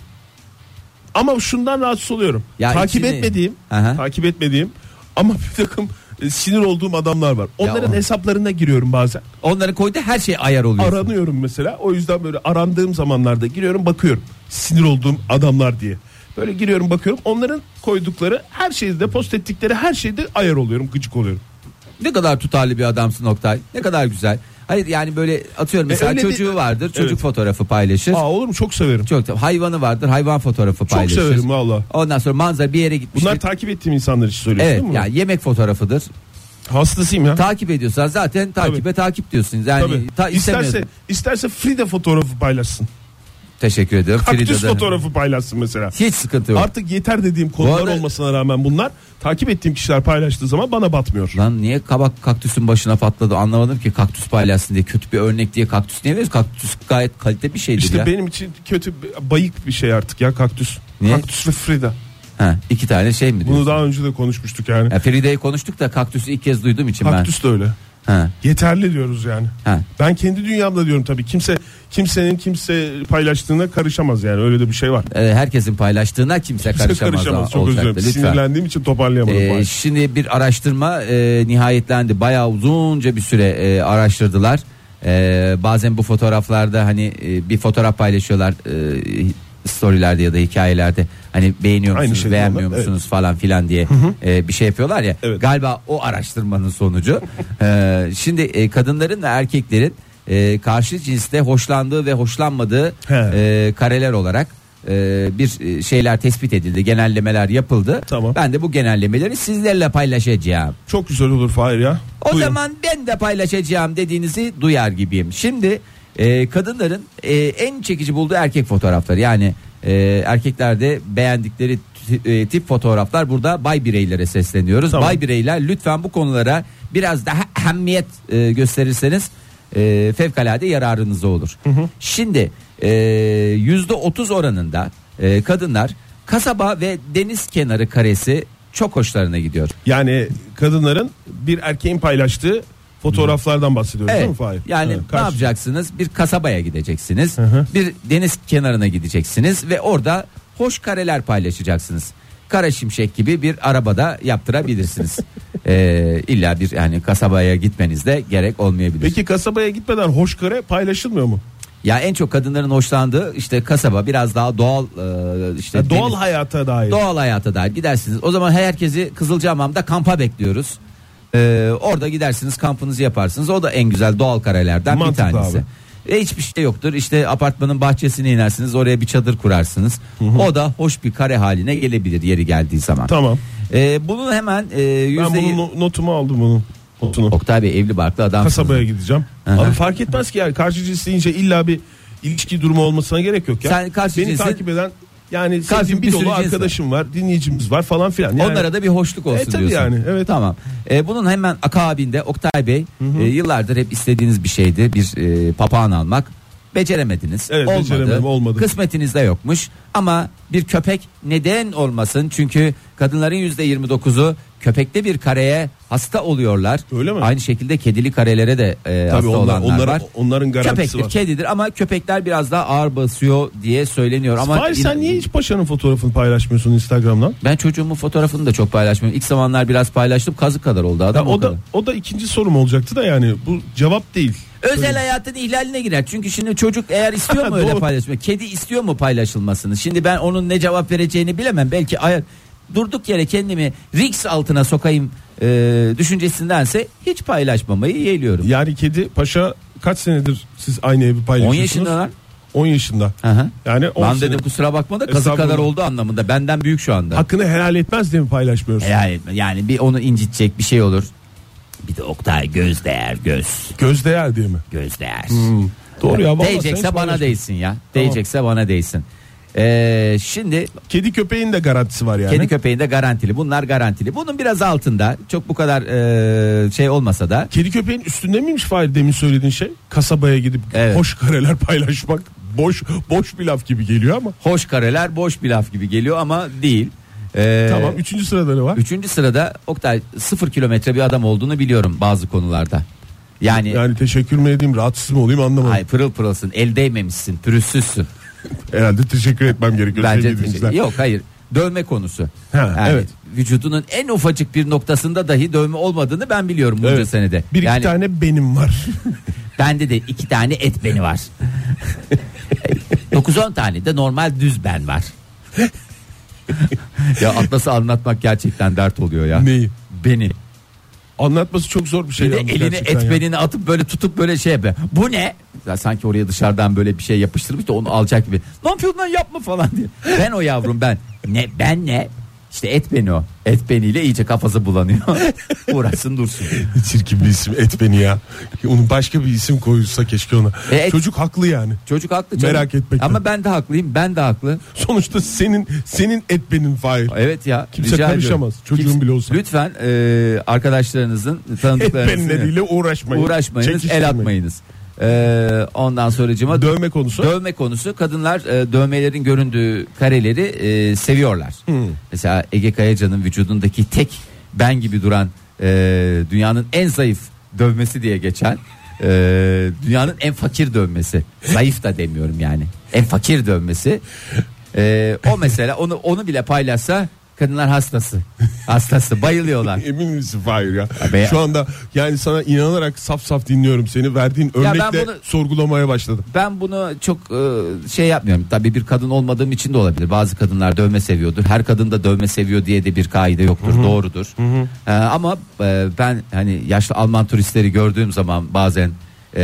Ama şundan rahatsız oluyorum. Ya takip içini- etmediğim, Aha. takip etmediğim ama (laughs) bir takım e, sinir olduğum adamlar var. Onların o- hesaplarına giriyorum bazen. Onların koyduğu her şey ayar oluyor. aranıyorum mesela. O yüzden böyle arandığım zamanlarda giriyorum bakıyorum. Sinir olduğum adamlar diye. Böyle giriyorum bakıyorum. Onların koydukları her şeyde post ettikleri her şeyde ayar oluyorum. Gıcık oluyorum. Ne kadar tutarlı bir adamsın Oktay. Ne kadar güzel. Hayır yani böyle atıyorum mesela E, öyle çocuğu bir- vardır. Çocuk Evet. fotoğrafı paylaşır. Aa olur mu? Çok severim. Çok da- hayvanı vardır. Hayvan fotoğrafı paylaşır. severim valla. Ondan sonra manzara bir yere gitmiş. Bunlar takip ettiğim insanlar için söylüyorsun Evet değil mi? yani yemek fotoğrafıdır. Hastasıyım ya. Takip ediyorsan zaten takibe takip diyorsunuz. Yani Tabii. ta, isterse, istemiyorsun. isterse Frida fotoğrafı paylaşsın. Teşekkür ediyorum. Kaktüs Frida'dan. fotoğrafı paylaşsın mesela. Hiç sıkıntı yok. Artık yeter dediğim konular arada- olmasına rağmen bunlar takip ettiğim kişiler paylaştığı zaman bana batmıyor. Lan niye kabak kaktüsün başına patladı anlamadım ki kaktüs paylaşsın diye kötü bir örnek diye kaktüs niye veriyoruz? Kaktüs gayet kalite bir şeydir İşte ya. benim için kötü bayık bir şey artık ya kaktüs. Niye? Kaktüs ve Frida. Ha, iki tane şey mi diyorsun? Bunu daha önce de konuşmuştuk yani. Ya Feride'yi konuştuk da kaktüsü ilk kez duyduğum için Kaktüs de öyle. ben. Ha, Yeterli diyoruz yani. ha. Ben kendi dünyamda diyorum tabii. Kimse kimsenin kimse paylaştığına karışamaz yani. Öyle de bir şey var. E, herkesin paylaştığına kimse, Kimse karışamaz. karışamaz. Çok olacaktı. özür dilerim. Lütfen. Sinirlendiğim için toparlayamadım. Ee, maalesef. şimdi bir araştırma e, nihayetlendi. Bayağı uzunca bir süre e, araştırdılar. E, bazen bu fotoğraflarda hani e, bir fotoğraf paylaşıyorlar e, storylerde ya da hikayelerde. Hani beğeniyor Aynı musunuz, şey beğenmiyor diyorlar, musunuz falan filan diye e, bir şey yapıyorlar ya. Evet. Galiba o araştırmanın sonucu. E, şimdi e, kadınların ve erkeklerin e, karşı cinste hoşlandığı ve hoşlanmadığı He. e, kareler olarak e, bir e, şeyler tespit edildi. Genellemeler yapıldı. Tamam. Ben de bu genellemeleri sizlerle paylaşacağım. Çok güzel olur Fahir ya. O Buyurun. zaman ben de paylaşacağım dediğinizi duyar gibiyim. Şimdi e, kadınların e, en çekici bulduğu erkek fotoğrafları yani e, erkeklerde beğendikleri t- e, tip fotoğraflar burada bay bireylere sesleniyoruz. Tamam. Bay bireyler lütfen bu konulara biraz daha ehemmiyet e, gösterirseniz e, fevkalade yararınıza olur. Şimdi e, yüzde %30 oranında e, kadınlar kasaba ve deniz kenarı karesi çok hoşlarına gidiyor. Yani kadınların bir erkeğin paylaştığı fotoğraflardan bahsediyoruz değil mi Fahir? Yani Evet, ne karşı- yapacaksınız? Bir kasabaya gideceksiniz. hı. Bir deniz kenarına gideceksiniz ve orada hoş kareler paylaşacaksınız. Kara şimşek gibi bir arabada yaptırabilirsiniz. (laughs) ee, illa bir yani kasabaya gitmeniz de gerek olmayabilir. Peki kasabaya gitmeden hoşgörü paylaşılmıyor mu? Ya en çok kadınların hoşlandığı işte kasaba biraz daha doğal e, işte Ya doğal deniz- hayata dair. Doğal hayata dair gidersiniz. O zaman herkesi Kızılcahamam'da kampa bekliyoruz. Ee, orada gidersiniz kampınızı yaparsınız. O da en güzel doğal karelerden Mantıklı bir tanesi. abi. E, hiçbir şey yoktur. İşte apartmanın bahçesine inersiniz. Oraya bir çadır kurarsınız. O da hoş bir kare haline gelebilir yeri geldiği zaman. Tamam. Ee, bunun hemen e, Ben yüzde... bunu no- notumu aldım bunu. Notunu. Oktay Bey evli barklı adam. kasabaya gideceğim. Aha. Abi fark etmez ki yani karşı cins deyince illa bir ilişki durumu olmasına gerek yok ya. Sen karşı Beni cinsin- takip eden yani Karşı sevdiğim bir bir sürü dolu cins var. arkadaşım var. dinleyicimiz var falan filan. Yani Onlara da bir hoşluk olsun E, tabii diyorsun. yani, evet. Tamam. E, bunun hemen akabinde Oktay Bey e, yıllardır hep istediğiniz bir şeydi bir e, papağan almak. Beceremediniz. Evet, olmadı. beceremedim, olmadı. Kısmetinizde yokmuş. Ama bir köpek neden olmasın? Çünkü kadınların yüzde 29'u köpekte bir kareye hasta oluyorlar. Öyle mi? Aynı şekilde kedili karelere de e, tabii hasta onlar, olanlar onlara- var. onların garantisi Köpektir, var. kedidir ama köpekler biraz daha ağır basıyor diye söyleniyor. Ama Fahir sen niye hiç paşanın fotoğrafını paylaşmıyorsun Instagram'dan? ben çocuğumun fotoğrafını da çok paylaşmıyorum. İlk zamanlar biraz paylaştım. Kazık kadar oldu adam. Ya o o da kadar. o da ikinci sorum olacaktı da yani bu cevap değil. Özel hayatın ihlaline girer. Çünkü şimdi çocuk eğer (laughs) istiyor mu öyle Doğru. paylaşmak? Kedi istiyor mu paylaşılmasını? Şimdi ben onun ne cevap vereceğini bilemem. Belki ayar durduk yere kendimi riks altına sokayım e, düşüncesindense hiç paylaşmamayı yeğliyorum. Yani kedi paşa kaç senedir siz aynı evi paylaşıyorsunuz? 10 yaşında lan. 10 10 yaşında. Aha. Yani 10 Lan sene. dedim kusura bakma da kazı Estağfurullah. kadar oldu anlamında. Benden büyük şu anda. Hakkını helal etmez diye mi paylaşmıyorsun? Yani, yani bir onu incitecek bir şey olur. Bir de Oktay göz değer göz. Göz değer diye mi? Göz değer. Hmm, Doğru ya. vallahi sen hiç Değecekse bana paylaşma. değsin ya. Değecekse bana değsin. Ee, şimdi Kedi köpeğin de garantisi var yani. Kedi köpeğinde garantili. Bunlar garantili. Bunun biraz altında. Çok bu kadar e, şey olmasa da Kedi köpeğin üstünde miymiş Fahir demin söylediğin şey? Kasabaya gidip Evet. hoş kareler paylaşmak boş boş bir laf gibi geliyor ama. hoş kareler boş bir laf gibi geliyor ama değil. Ee, Tamam 3. sırada ne var? Üçüncü sırada Oktay sıfır kilometre bir adam olduğunu biliyorum bazı konularda. Yani, Yani teşekkür mü edeyim rahatsız mı olayım anlamadım. ay pırıl pırılsın, el değmemişsin, pürüzsüzsün. Herhalde teşekkür etmem gerekiyor. Bence sevgili dinleyiciler. yok hayır. Dövme konusu. Ha, evet. Vücudunun en ufacık bir noktasında dahi dövme olmadığını ben biliyorum bunca Evet. senede. Bir iki yani tane benim var. (laughs) bende de iki tane et beni var. 9-10 tane de normal düz ben (laughs) var. ya atlası anlatmak gerçekten dert oluyor ya. Neyi? Beni. Anlatması çok zor bir şey. Bir de yalnız eline gerçekten ya. etmenini atıp böyle tutup böyle şey yapıyor. Bu ne? Ya sanki oraya dışarıdan böyle bir şey yapıştırmış da onu alacak gibi. Ne yapıyorsun lan yapma falan diye. Ben o yavrum ben. Ne ben ne? İşte et beni o. Et beniyle iyice kafası (laughs) bulanıyor. Uğraşsın dursun. Çirkin bir isim et beni ya. Onun başka bir isim koyulsa keşke ona. E, et- Çocuk haklı yani. Çocuk haklı canım. Merak etme. Ama ben de haklıyım. Ben de haklı. Sonuçta senin senin et benim Fahir. Evet ya. Kimse rica karışamaz, ediyorum. çocuğun bile olsa. Lütfen e, arkadaşlarınızın Et benleriyle tanıdıklarınızın uğraşmayın. uğraşmayınız. Çekiştirmeyin. El atmayınız. E, ondan sonracığıma Dövme konusu. Dövme konusu kadınlar e, dövmelerin göründüğü kareleri e, seviyorlar. Mesela Ege Kayacan'ın vücudundaki tek ben gibi duran e, dünyanın en zayıf dövmesi diye geçen e, dünyanın en fakir dövmesi. Zayıf da demiyorum yani. En fakir dövmesi. E, o mesela onu onu bile paylaşsa kadınlar hastası. Hastası bayılıyorlar. Emin misin Fahir ya? be- Şu anda yani sana inanarak saf saf dinliyorum seni. Verdiğin ben örnekle bunu- sorgulamaya başladım. Ben bunu çok e, şey yapmıyorum. Tabii bir kadın olmadığım için de olabilir. Bazı kadınlar dövme seviyordur. Her kadın da dövme seviyor diye de bir kaide yoktur. Doğrudur. E, ama e, ben hani yaşlı Alman turistleri gördüğüm zaman bazen e,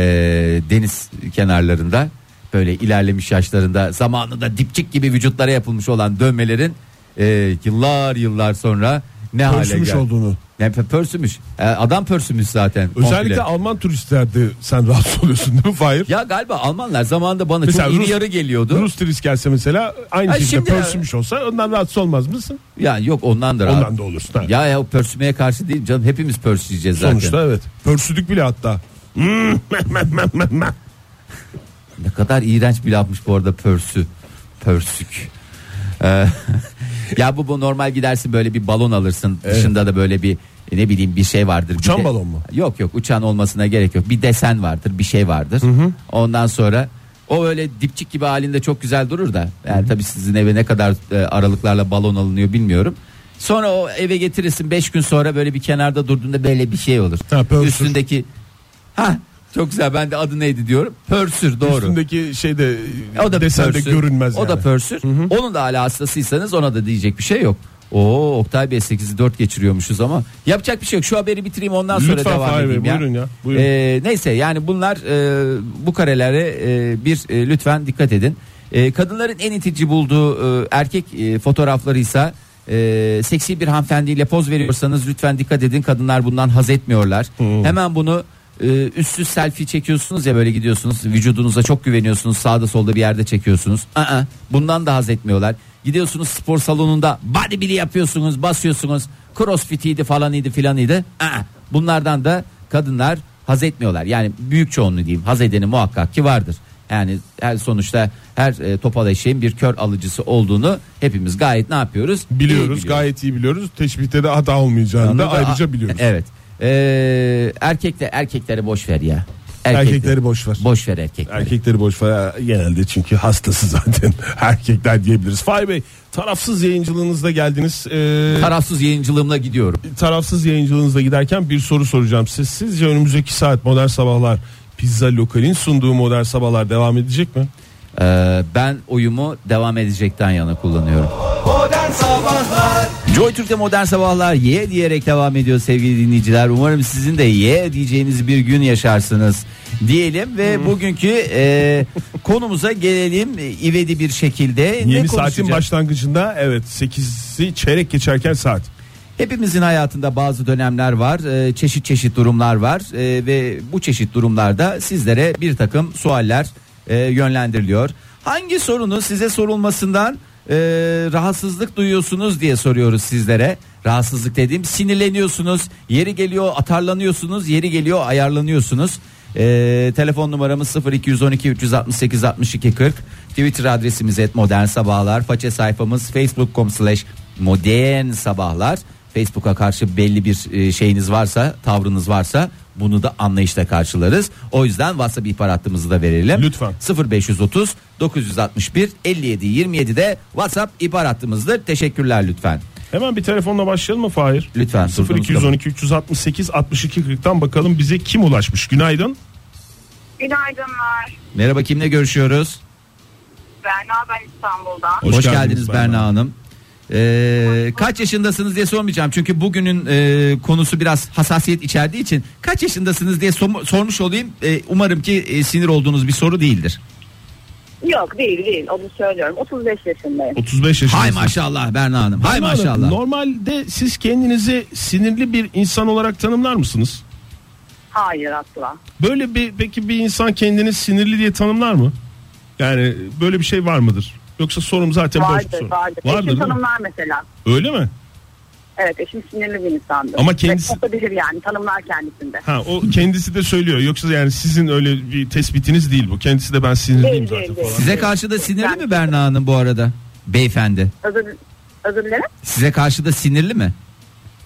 deniz kenarlarında böyle ilerlemiş yaşlarında zamanında dipçik gibi vücutlara yapılmış olan dövmelerin e, yıllar yıllar sonra ne hale Pörsümüş geldi. olduğunu. Ne pörsümüş. E, adam pörsümüş zaten. Özellikle komple. Alman turistlerde sen rahatsız oluyorsun değil mi Fahir? ya galiba Almanlar zamanında bana Mesela çok iri Rus- yarı geliyordu. Rus turist gelse mesela aynı Ha, şekilde şimdi- pörsümüş olsa ondan rahatsız olmaz mısın? Ya yok ondandır abi. Ondan da olursun. ha. Ya ya o pörsümeye karşı değil canım hepimiz pörsüyeceğiz zaten. Sonuçta evet. Pörsüdük bile hatta. Hmm, Ne kadar iğrenç bir lafmış bu arada pörsü. Pörsük. Ee, (laughs) ya bu bu normal gidersin böyle bir balon alırsın. Dışında da böyle bir e, ne bileyim bir şey vardır. Bir Uçan de- balon mu? Yok yok uçan olmasına gerek yok. Bir desen vardır bir şey vardır. Ondan sonra o öyle dipçik gibi halinde çok güzel durur da. Yani tabii sizin eve ne kadar e, aralıklarla balon alınıyor bilmiyorum. Sonra o eve getirirsin 5 gün sonra böyle bir kenarda durduğunda böyle bir şey olur. Ha, pörsür. Üstündeki ha çok güzel ben de adı neydi diyorum. Pörsür doğru. E, Üstündeki şey de O da desen de pörsür. görünmez O yani. da pörsür. Onun da hala hastasıysanız ona da diyecek bir şey yok. Oo Oktay Bey 8'i 4 geçiriyormuşuz ama yapacak bir şey yok. Şu haberi bitireyim ondan sonra Lütfen devam Fahir Bey, edeyim ya. buyurun ya, buyurun. Ee, neyse yani bunlar e, bu karelere e, bir e, lütfen dikkat edin. E, kadınların en itici bulduğu e, erkek e, fotoğraflarıysa e, seksi bir hanımefendiyle poz veriyorsanız lütfen dikkat edin. Kadınlar bundan haz etmiyorlar. Hemen bunu e, üstsüz selfie çekiyorsunuz ya böyle gidiyorsunuz vücudunuza çok güveniyorsunuz sağda solda bir yerde çekiyorsunuz Aa, bundan da haz etmiyorlar gidiyorsunuz spor salonunda bodybuilding yapıyorsunuz basıyorsunuz crossfitiydi falanıydı filanıydı Aa, bunlardan da kadınlar haz etmiyorlar yani büyük çoğunluğu diyeyim haz edeni muhakkak ki vardır yani her sonuçta her e, topal eşeğin bir kör alıcısı olduğunu hepimiz gayet ne yapıyoruz İyi biliyoruz, gayet iyi biliyoruz. Teşbihte de hata olmayacağını Onu da da- ayrıca biliyoruz. Evet. Ee, erkekle erkekleri boş ver ya. Erkekleri, Erkekleri boş ver. Boş ver erkekleri. Erkekleri boş ver genelde çünkü hastası (laughs) zaten erkekler diyebiliriz. Fahir Bey tarafsız yayıncılığınızda geldiniz. Ee, Tarafsız yayıncılığımla gidiyorum. tarafsız yayıncılığınızda giderken bir soru soracağım size. Sizce önümüzdeki saat modern sabahlar pizza lokalin sunduğu modern sabahlar devam edecek mi? Ee, ben oyumu devam edecekten yana kullanıyorum. Modern Sabahlar Joy Türk'te modern sabahlar ye diyerek devam ediyor sevgili dinleyiciler. Umarım sizin de ye diyeceğiniz bir gün yaşarsınız. diyelim ve bugünkü e, konumuza gelelim E, ivedi bir şekilde. Yeni saatin konuşacağız? başlangıcında evet 8'i çeyrek geçerken saat. Hepimizin hayatında bazı dönemler var, e, çeşit çeşit durumlar var e, ve bu çeşit durumlarda sizlere bir takım sualler e, yönlendiriliyor. Hangi sorunun size sorulmasından e, rahatsızlık duyuyorsunuz diye soruyoruz sizlere. Rahatsızlık dediğim sinirleniyorsunuz, yeri geliyor atarlanıyorsunuz, yeri geliyor ayarlanıyorsunuz. E, telefon numaramız 0212 368 62 40 Twitter adresimiz et modern sabahlar Faça sayfamız facebook.com slash modern sabahlar Facebook'a karşı belli bir e, şeyiniz varsa tavrınız varsa bunu da anlayışla karşılarız. O yüzden WhatsApp ihbar hattımızı da verelim. Lütfen. 0530 961 57 27'de WhatsApp ihbar hattımızdır. Teşekkürler lütfen. Hemen bir telefonla başlayalım mı Fahir? Lütfen, durduğunuz 0212 368 62 40'tan bakalım bize kim ulaşmış? Günaydın. Günaydınlar. Merhaba kimle görüşüyoruz? Berna ben İstanbul'dan. Hoş Hoş, geldiniz geldiniz, Berna. Berna, Hanım. Ee, kaç yaşındasınız diye sormayacağım çünkü bugünün e, konusu biraz hassasiyet içerdiği için kaç yaşındasınız diye som- sormuş olayım E, umarım ki e, sinir olduğunuz bir soru değildir. Yok değil değil onu söylüyorum. 35 yaşındayım. 35 yaşındasınız. Hay maşallah Berna Hanım. Hay Berna Hanım, maşallah. Normalde siz kendinizi sinirli bir insan olarak tanımlar mısınız? Hayır asla. Böyle bir peki bir insan kendini sinirli diye tanımlar mı? Yani böyle bir şey var mıdır? Yoksa sorum zaten boş bir Vardır soru. vardır. Vardır Eşim değil mi? tanımlar mesela. Öyle mi? Evet eşim sinirli bir insandır. Ama kendisi- Ve Olabilir yani tanımlar kendisinde. Ha o kendisi de söylüyor. Yoksa yani sizin öyle bir tespitiniz değil bu. Kendisi de ben sinirliyim Değil, zaten değil, falan. değil. Size karşı da sinirli mi Berna Hanım bu arada? Beyefendi. Özür, özür dilerim. Size karşı da sinirli (laughs) mi?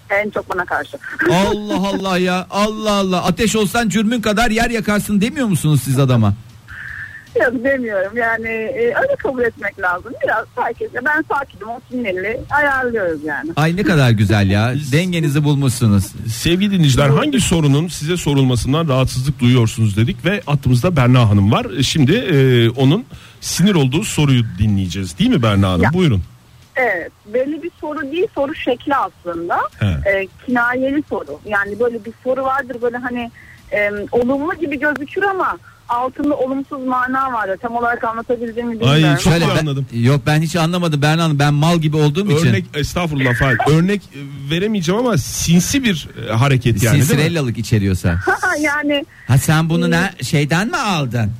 En çok bana karşı. (laughs) Allah Allah ya. Allah Allah. Ateş olsan cürmün kadar yer yakarsın demiyor musunuz siz adama? Yok demiyorum yani e, öyle kabul etmek lazım. Biraz sakinle ben sakinim o sinirli ayarlıyoruz yani. Ay ne kadar güzel ya. Dengenizi bulmuşsunuz. Sevgili dinleyiciler hangi sorunun size sorulmasından rahatsızlık duyuyorsunuz dedik ve aklımızda Berna Hanım var. Şimdi e, onun sinir olduğu soruyu dinleyeceğiz değil mi Berna Hanım? Ya. Buyurun. Evet belli bir soru değil soru şekli aslında He. Ee, kinayeli soru yani böyle bir soru vardır böyle hani e, olumlu gibi gözükür ama altında olumsuz mana vardır tam olarak anlatabildiğimi bilmiyorum. Ay, çok- iyi ben- anladım. Yok ben hiç anlamadım Berna Hanım. Ben mal gibi olduğum Örnek için. estağfurullah Fahir. Örnek e, veremeyeceğim ama sinsi bir e, hareket yani değil mi? Ee, Sinsirellalık içeriyorsa. Ha, (laughs) yani Ha sen bunu ne şeyden mi aldın?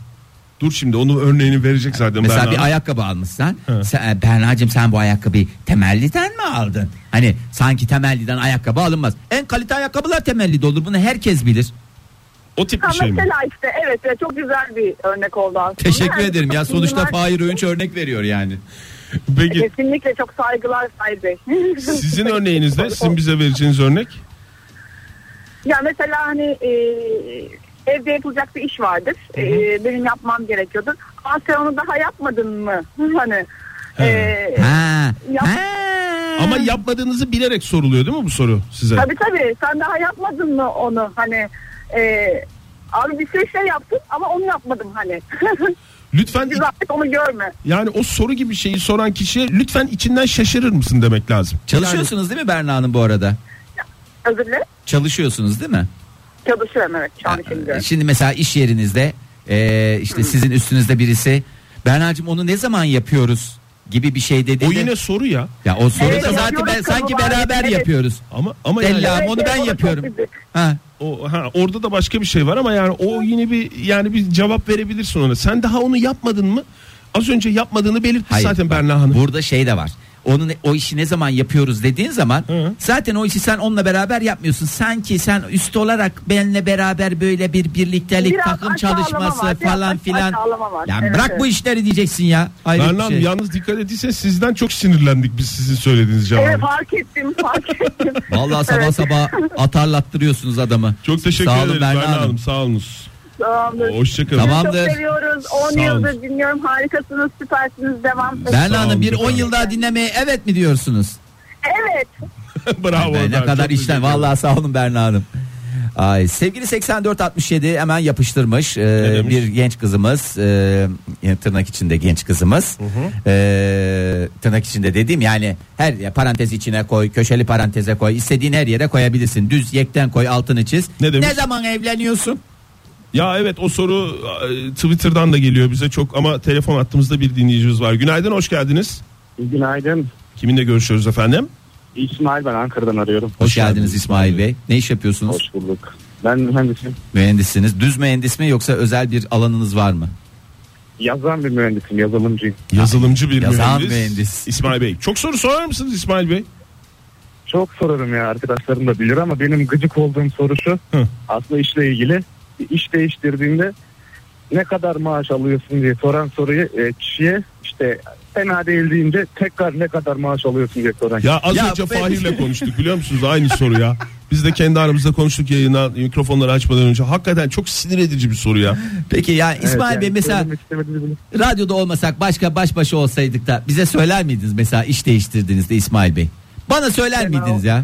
Dur şimdi onun örneğini verecek zaten Mesela Berna bir Hanım. ayakkabı almışsan. He. Sen, e, Berna'cığım sen bu ayakkabıyı temelliden mi aldın? Hani sanki temelliden ayakkabı alınmaz. En kalite ayakkabılar temelli de olur. Bunu herkes bilir. O tip ha, bir şey mi? mesela işte evet evet, çok güzel bir örnek oldu aslında. Teşekkür Yani ederim ya. çok Sonuçta bunlar- Fahir Öğünç örnek veriyor yani. Peki Kesinlikle çok saygılar Fahir Bey. (laughs) sizin örneğinizde sizin bize vereceğiniz örnek? Ya mesela hani e, evde yapılacak bir iş vardır. E, benim yapmam gerekiyordur. Aa sen onu daha yapmadın mı? (laughs) hani He. e, Ha. Yap- ha. Ama yapmadığınızı bilerek soruluyor değil mi bu soru size? Hmm. tabii tabii sen daha yapmadın mı onu? Hani e, abi bir sürü şey yaptın ama onu yapmadım hani. (laughs) Lütfen bir zahmet onu görme. yani o soru gibi şeyi soran kişiye lütfen içinden şaşırır mısın demek lazım. Çalışıyorsunuz değil mi Berna Hanım bu arada? Özür dilerim. Çalışıyorsunuz değil mi? Çalışıyorum evet şu an Ee, şimdi. Şimdi mesela iş yerinizde e, işte sizin üstünüzde birisi Berna'cığım onu ne zaman yapıyoruz gibi bir şey dedi. O yine soru ya. ya o soru Evet, da zaten ben, yapıyoruz, sanki kabul beraber ediyoruz. yapıyoruz. Ama ama yani Della onu şey ben evet, o da yapıyorum. çok güzel. Ha. o, ha, orada da başka bir şey var ama yani o yine bir yani bir cevap verebilirsin ona. Sen daha onu yapmadın mı? Az önce yapmadığını belirtti Hayır, zaten bak, Berna Hanım. Burada şey de var. Onun o işi ne zaman yapıyoruz dediğin zaman Hı. zaten o işi sen onunla beraber yapmıyorsun. Sanki sen üst olarak benle beraber böyle bir birliktelik Biraz takım aşağılama çalışması var, biraz falan aşa- filan. aşağılama var. Ya Evet, bırak evet. bu işleri diyeceksin ya. Hayret bir Berna Hanım şey. yalnız dikkat etse sizden çok sinirlendik biz sizin söylediğiniz cevabı. Evet fark ettim (laughs) fark ettim. Vallahi sabah Evet, sabah atarlattırıyorsunuz adamı. Çok teşekkür Sağ olun ederim Berna Berna Hanım. Hanım. Sağ olunuz. tamamdır. Hoşçakalın. (laughs) Tamam. Sizi Tamamdır. Çok seviyoruz. 10 Sağ yıldır olun. dinliyorum. Harikasınız, süpersiniz. Devam. Berna Sağ Hanım bir olun, 10 efendim. yıl daha dinlemeye evet mi diyorsunuz? Evet. Bravo. Ay, ne Berna, kadar çok işten teşekkür vallahi sağ olun Berna Hanım. Ay sevgili 8467 hemen yapıştırmış Ee, demiş? bir genç kızımız e, yani tırnak içinde genç kızımız Ee, tırnak içinde dediğim yani her ya, parantez içine koy köşeli paranteze koy istediğin her yere koyabilirsin düz yekten koy altını çiz Ne demiş? ne zaman evleniyorsun Ya evet o soru e, Twitter'dan da geliyor bize çok ama telefon attığımızda bir dinleyicimiz var. Günaydın hoş geldiniz. Günaydın. Kiminle görüşüyoruz efendim? İsmail ben Ankara'dan arıyorum. Hoş geldiniz İsmail Bey. Ne iş yapıyorsunuz? Hoş bulduk. Ben mühendisim. Mühendissiniz. Düz mühendis mi yoksa özel bir alanınız var mı? Yazan bir mühendisim, yazılımcıyım. Yazılımcı bir Yazan mühendis. mühendis. İsmail Bey. Çok soru sorar mısınız İsmail Bey? Çok sorarım ya arkadaşlarım da bilir ama benim gıcık olduğum soru şu. Hı. Aslında işle ilgili bir iş değiştirdiğinde ne kadar maaş alıyorsun diye soran soruyu e, kişiye işte fena değil deyince tekrar ne kadar maaş alıyorsun diye soran. Ya az Ya önce ben- (laughs) Fahir'le konuştuk biliyor musunuz? Aynı soru ya. Biz de kendi aramızda konuştuk yayına mikrofonları açmadan önce. Hakikaten çok sinir edici bir soru ya. Peki yani Evet, İsmail yani Bey mesela söylemek istemediğini bilir. radyoda olmasak başka baş başa olsaydık da bize söyler miydiniz mesela iş değiştirdiğinizde İsmail Bey? Bana söyler Fena miydiniz ya?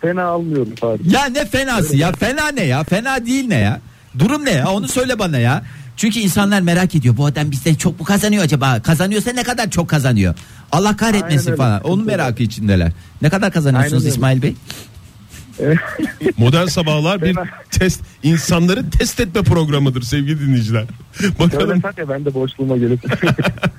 Fena almıyorum Fahri. Ya ne fenası ya fena ne ya fena değil ne ya? Durum ne ya onu söyle bana ya. Çünkü insanlar merak ediyor bu adam bizden çok mu kazanıyor acaba? Kazanıyorsa ne kadar çok kazanıyor? Allah kahretmesin Aynen öyle. falan. Onun merakı içindeler. Ne kadar kazanıyorsunuz Aynen öyle. İsmail Bey? Modern sabahlar bir Fena. test insanları test etme programıdır sevgili dinleyiciler. Bakalım Söylesen ya ben de boşluğuma gelip.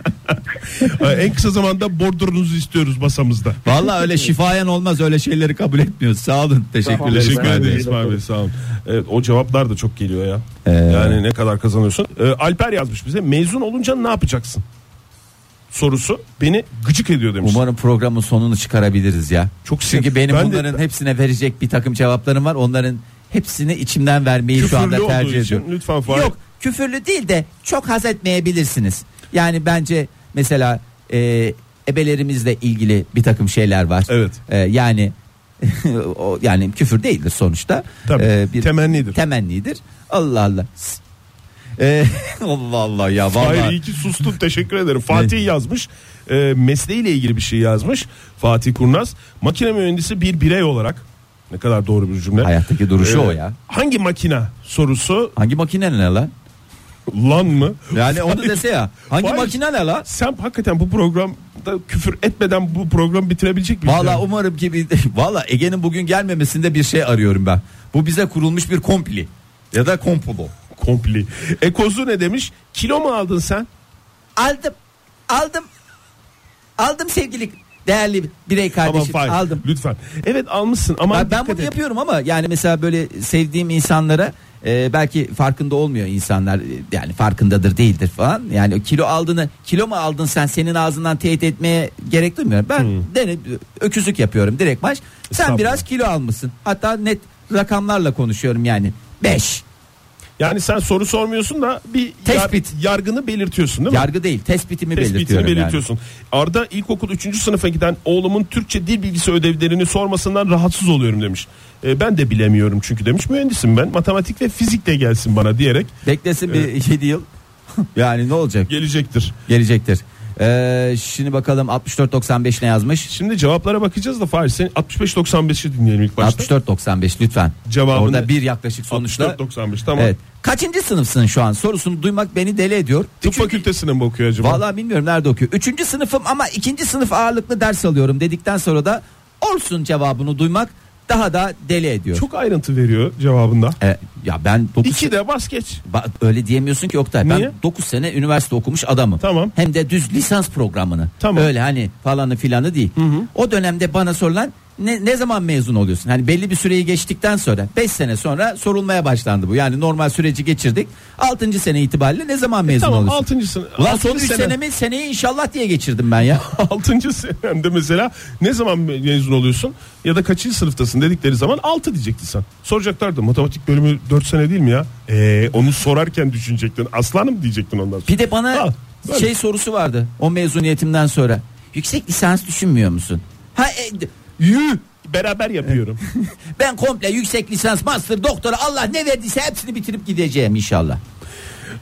(laughs) e, en kısa zamanda bordronuzu istiyoruz masamızda. Vallahi öyle şifayen olmaz öyle şeyleri kabul etmiyoruz. Sağ olun. Teşekkürler. Tamam, Teşekkür İsmail Bey. ederiz İsmail Bey sağ olun. Evet, o cevaplar da çok geliyor ya. Ee. Yani ne kadar kazanıyorsun? Ee, Alper yazmış bize mezun olunca ne yapacaksın? Sorusu beni gıcık ediyor demiş. Umarım programın sonunu çıkarabiliriz ya. Çok Çünkü sinir- benim Ben de- bunların hepsine verecek bir takım cevaplarım var. Onların hepsini içimden vermeyi şu Küfürlü anda olduğu tercih için ediyorum. lütfen Fahir. Yok küfürlü değil de çok haz etmeyebilirsiniz. Yani bence mesela e, ebelerimizle ilgili bir takım şeyler var. Evet. E, yani (laughs) o yani küfür değildir sonuçta. Tabii, E, bir temennidir. Temennidir. Allah Allah. E, (laughs) Allah Allah ya vallahi. Hayır iyi ki sustun teşekkür ederim. Fatih yazmış. E, mesleğiyle ilgili bir şey yazmış. Fatih Kurnaz. Makine mühendisi bir birey olarak. Ne kadar doğru bir cümle. Hayattaki duruşu E, o ya. Hangi makina sorusu Hangi makine ne lan? lan mı? Yani onu dese ya. Hangi Faiz- makine ne lan? Sen hakikaten bu programda küfür etmeden bu programı bitirebilecek miyiz? Valla Yani? umarım ki bir (laughs) valla Ege'nin bugün gelmemesinde bir şey arıyorum ben. Bu bize kurulmuş bir kompli ya da komplo. Kompli. Ekozu ne demiş? Kilo mu aldın sen? Aldım. Aldım. Aldım sevgili değerli birey Aman kardeşim. Fahir, aldım. Lütfen. Evet almışsın ama Ben, ben bunu yapıyorum ama yani mesela böyle sevdiğim insanlara e, belki farkında olmuyor insanlar e, yani farkındadır değildir falan. Yani kilo aldığını kilo mu aldın sen senin ağzından teyit etmeye gerek duymuyorum. Ben dene, öküzlük yapıyorum direkt baş. Sen Hmm. Estağfurullah. biraz kilo almışsın. Hatta net rakamlarla konuşuyorum yani. 5 Yani sen soru sormuyorsun da bir Tespit. yargını belirtiyorsun değil mi? yargı değil tespitimi, Tespitini belirtiyorum. yani. belirtiyorsun. Arda ilkokul 3. sınıfa giden oğlumun Türkçe dil bilgisi ödevlerini sormasından rahatsız oluyorum demiş. E, ben de bilemiyorum çünkü demiş. Mühendisim ben. Matematik ve fizik de gelsin bana diyerek Beklesin bir 7 yıl. (laughs) yani ne olacak? gelecektir. Gelecektir. Ee, şimdi bakalım 64-95 ne yazmış? Şimdi cevaplara bakacağız da Fahir senin 65-95'i dinleyelim ilk başta. 64-95 lütfen. Cevabını- Orada bir yaklaşık sonuçla. 64-95 tamam. Evet. Kaçıncı sınıfsın şu an? Sorusunu duymak beni deli ediyor. Tıp Üçüncü- fakültesine mi okuyor acaba? Vallahi bilmiyorum nerede okuyor. Üçüncü sınıfım ama ikinci sınıf ağırlıklı ders alıyorum dedikten sonra da olsun cevabını duymak daha da deli ediyor. Çok ayrıntı veriyor cevabında. E, ya ben 9 İki de basket. öyle diyemiyorsun ki Oktay. Niye? Ben 9 sene üniversite okumuş adamım. Tamam. Hem de düz lisans programını. Tamam. Öyle hani falanı filanı değil. O dönemde bana sorulan ne, ne zaman mezun oluyorsun? Hani belli bir süreyi geçtikten sonra 5 sene sonra sorulmaya başlandı bu. Yani normal süreci geçirdik. 6. sene itibariyle ne zaman mezun E, Tamam oluyorsun? 6. sınıf. Ulan altıncı son 3 sene- senemi seneye inşallah diye geçirdim ben (laughs) ya. 6. senemde mesela ne zaman mezun oluyorsun ya da kaçıncı sınıftasın dedikleri zaman 6 diyecektin sen. Soracaklardı matematik bölümü 4 sene değil mi ya? Ee, onu sorarken düşünecektin. Aslanım diyecektin ondan sonra. Bir de bana Al, böyle. şey sorusu vardı o mezuniyetimden sonra. Yüksek lisans düşünmüyor musun? Ha e, d- yuh! Beraber yapıyorum. Ben komple yüksek lisans, master, doktora Allah ne verdiyse hepsini bitirip gideceğim inşallah.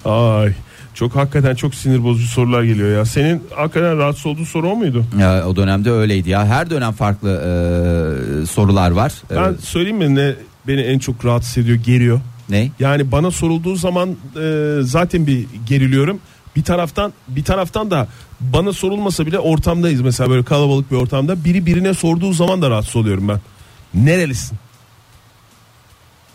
Ay çok hakikaten çok sinir bozucu sorular geliyor ya. Senin hakikaten rahatsız olduğun soru o muydu? Ya, o dönemde öyleydi ya. Her dönem farklı e, sorular var. E, Ben söyleyeyim mi ne beni en çok rahatsız ediyor, geriyor. ne? Yani bana sorulduğu zaman e, zaten bir geriliyorum. Bir taraftan bir taraftan da bana sorulmasa bile ortamdayız mesela böyle kalabalık bir ortamda biri birine sorduğu zaman da rahatsız oluyorum ben. Nerelisin?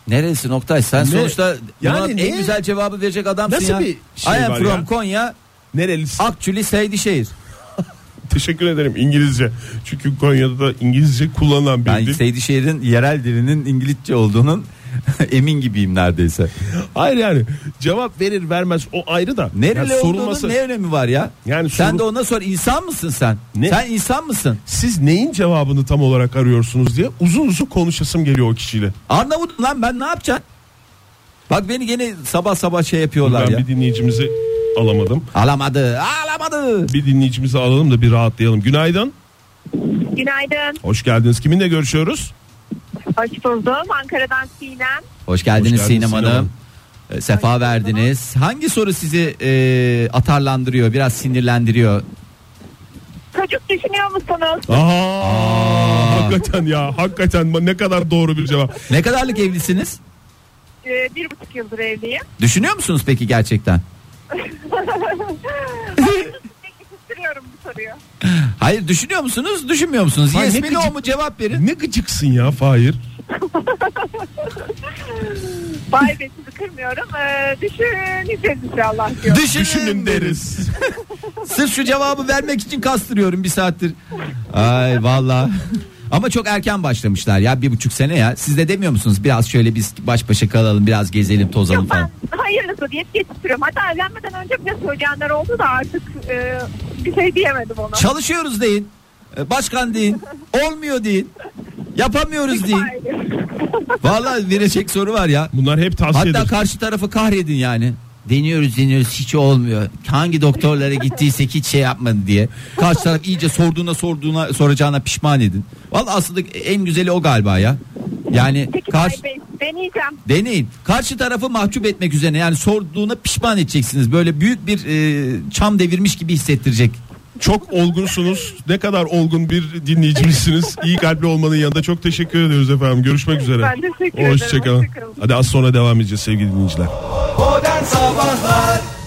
Neresi Noktay? Sen sonuçta Yani buna ne? en güzel cevabı verecek adamsın Nasıl ya. bir şey I am var from ya? Konya, Nerelisin? Akçuli, Seydişehir. Teşekkür ederim İngilizce. Çünkü Konya'da da İngilizce kullanılan bir Ben dil. Seydişehir'in yerel dilinin İngilizce olduğunun (laughs) emin gibiyim neredeyse. Hayır yani cevap verir vermez o ayrı da. Nereli Yani sorulması- olduğunun ne önemi var ya? Yani sen soru- de ona sor insan mısın sen? Ne? Sen insan mısın? Siz neyin cevabını tam olarak arıyorsunuz diye uzun uzun konuşasım geliyor o kişiyle. Arnavut lan ben ne yapacaksın? Bak beni gene sabah sabah şey yapıyorlar Ben ya. bir dinleyicimizi alamadım. Alamadı, alamadı. Bir dinleyicimizi alalım da bir rahatlayalım. Günaydın. Günaydın. Hoş geldiniz. Kiminle görüşüyoruz? Hoş buldum. Ankara'dan Sinem. Hoş geldiniz, Hoş geldiniz Sinem Sinem Hanım. Hanım. Ee, Sefa verdiniz. Hangi soru sizi e, atarlandırıyor, biraz sinirlendiriyor? Çocuk düşünüyor musunuz? Aa, Hakikaten ya. Hakikaten ne kadar doğru bir cevap. Ne kadarlık evlisiniz? Ee, bir buçuk yıldır (laughs) evliyim. Düşünüyor musunuz peki gerçekten? Düşünüyorum bu soruyu. Hayır düşünüyor musunuz, düşünmüyor musunuz? Hayır, Yes ne mi no gıcık- mu cevap verin. Ne gıcıksın ya Fahir. Bay be sizi kırmıyorum. Ee, düşüneceğiz inşallah diyor. Düşünün, Düşünün deriz. Sırf şu cevabı vermek için kastırıyorum bir saattir. Ay valla. Ama çok erken başlamışlar ya bir buçuk sene ya. Siz de demiyor musunuz biraz şöyle biz baş başa kalalım biraz gezelim tozalım Yok falan. ben hayırlısı diye geçiştiriyorum. Hatta evlenmeden önce bile söyleyenler oldu da artık e, bir şey diyemedim ona. Çalışıyoruz deyin. E, Başkan deyin. Olmuyor deyin. Yapamıyoruz deyin. Valla verecek soru var ya. Bunlar hep tavsiyedir. Hatta karşı tarafı kahredin yani. Deniyoruz deniyoruz hiç olmuyor. Hangi doktorlara gittiysek hiç şey yapmadı diye. Karşı taraf iyice sorduğuna sorduğuna soracağına pişman edin. Valla aslında en güzeli o galiba ya. Yani Peki karşı Bay Bey deneyeceğim. deneyin. Karşı tarafı mahcup etmek üzerine yani sorduğuna pişman edeceksiniz. Böyle büyük bir e, çam devirmiş gibi hissettirecek. Çok olgunsunuz. Ne kadar olgun bir dinleyicimizsiniz. İyi kalpli olmanın yanında çok teşekkür ediyoruz efendim. Görüşmek üzere. Ben teşekkür ederim. Hoşçakalın. Hoşçakalın. Hadi az sonra devam edeceğiz sevgili dinleyiciler. Modern Sabahlar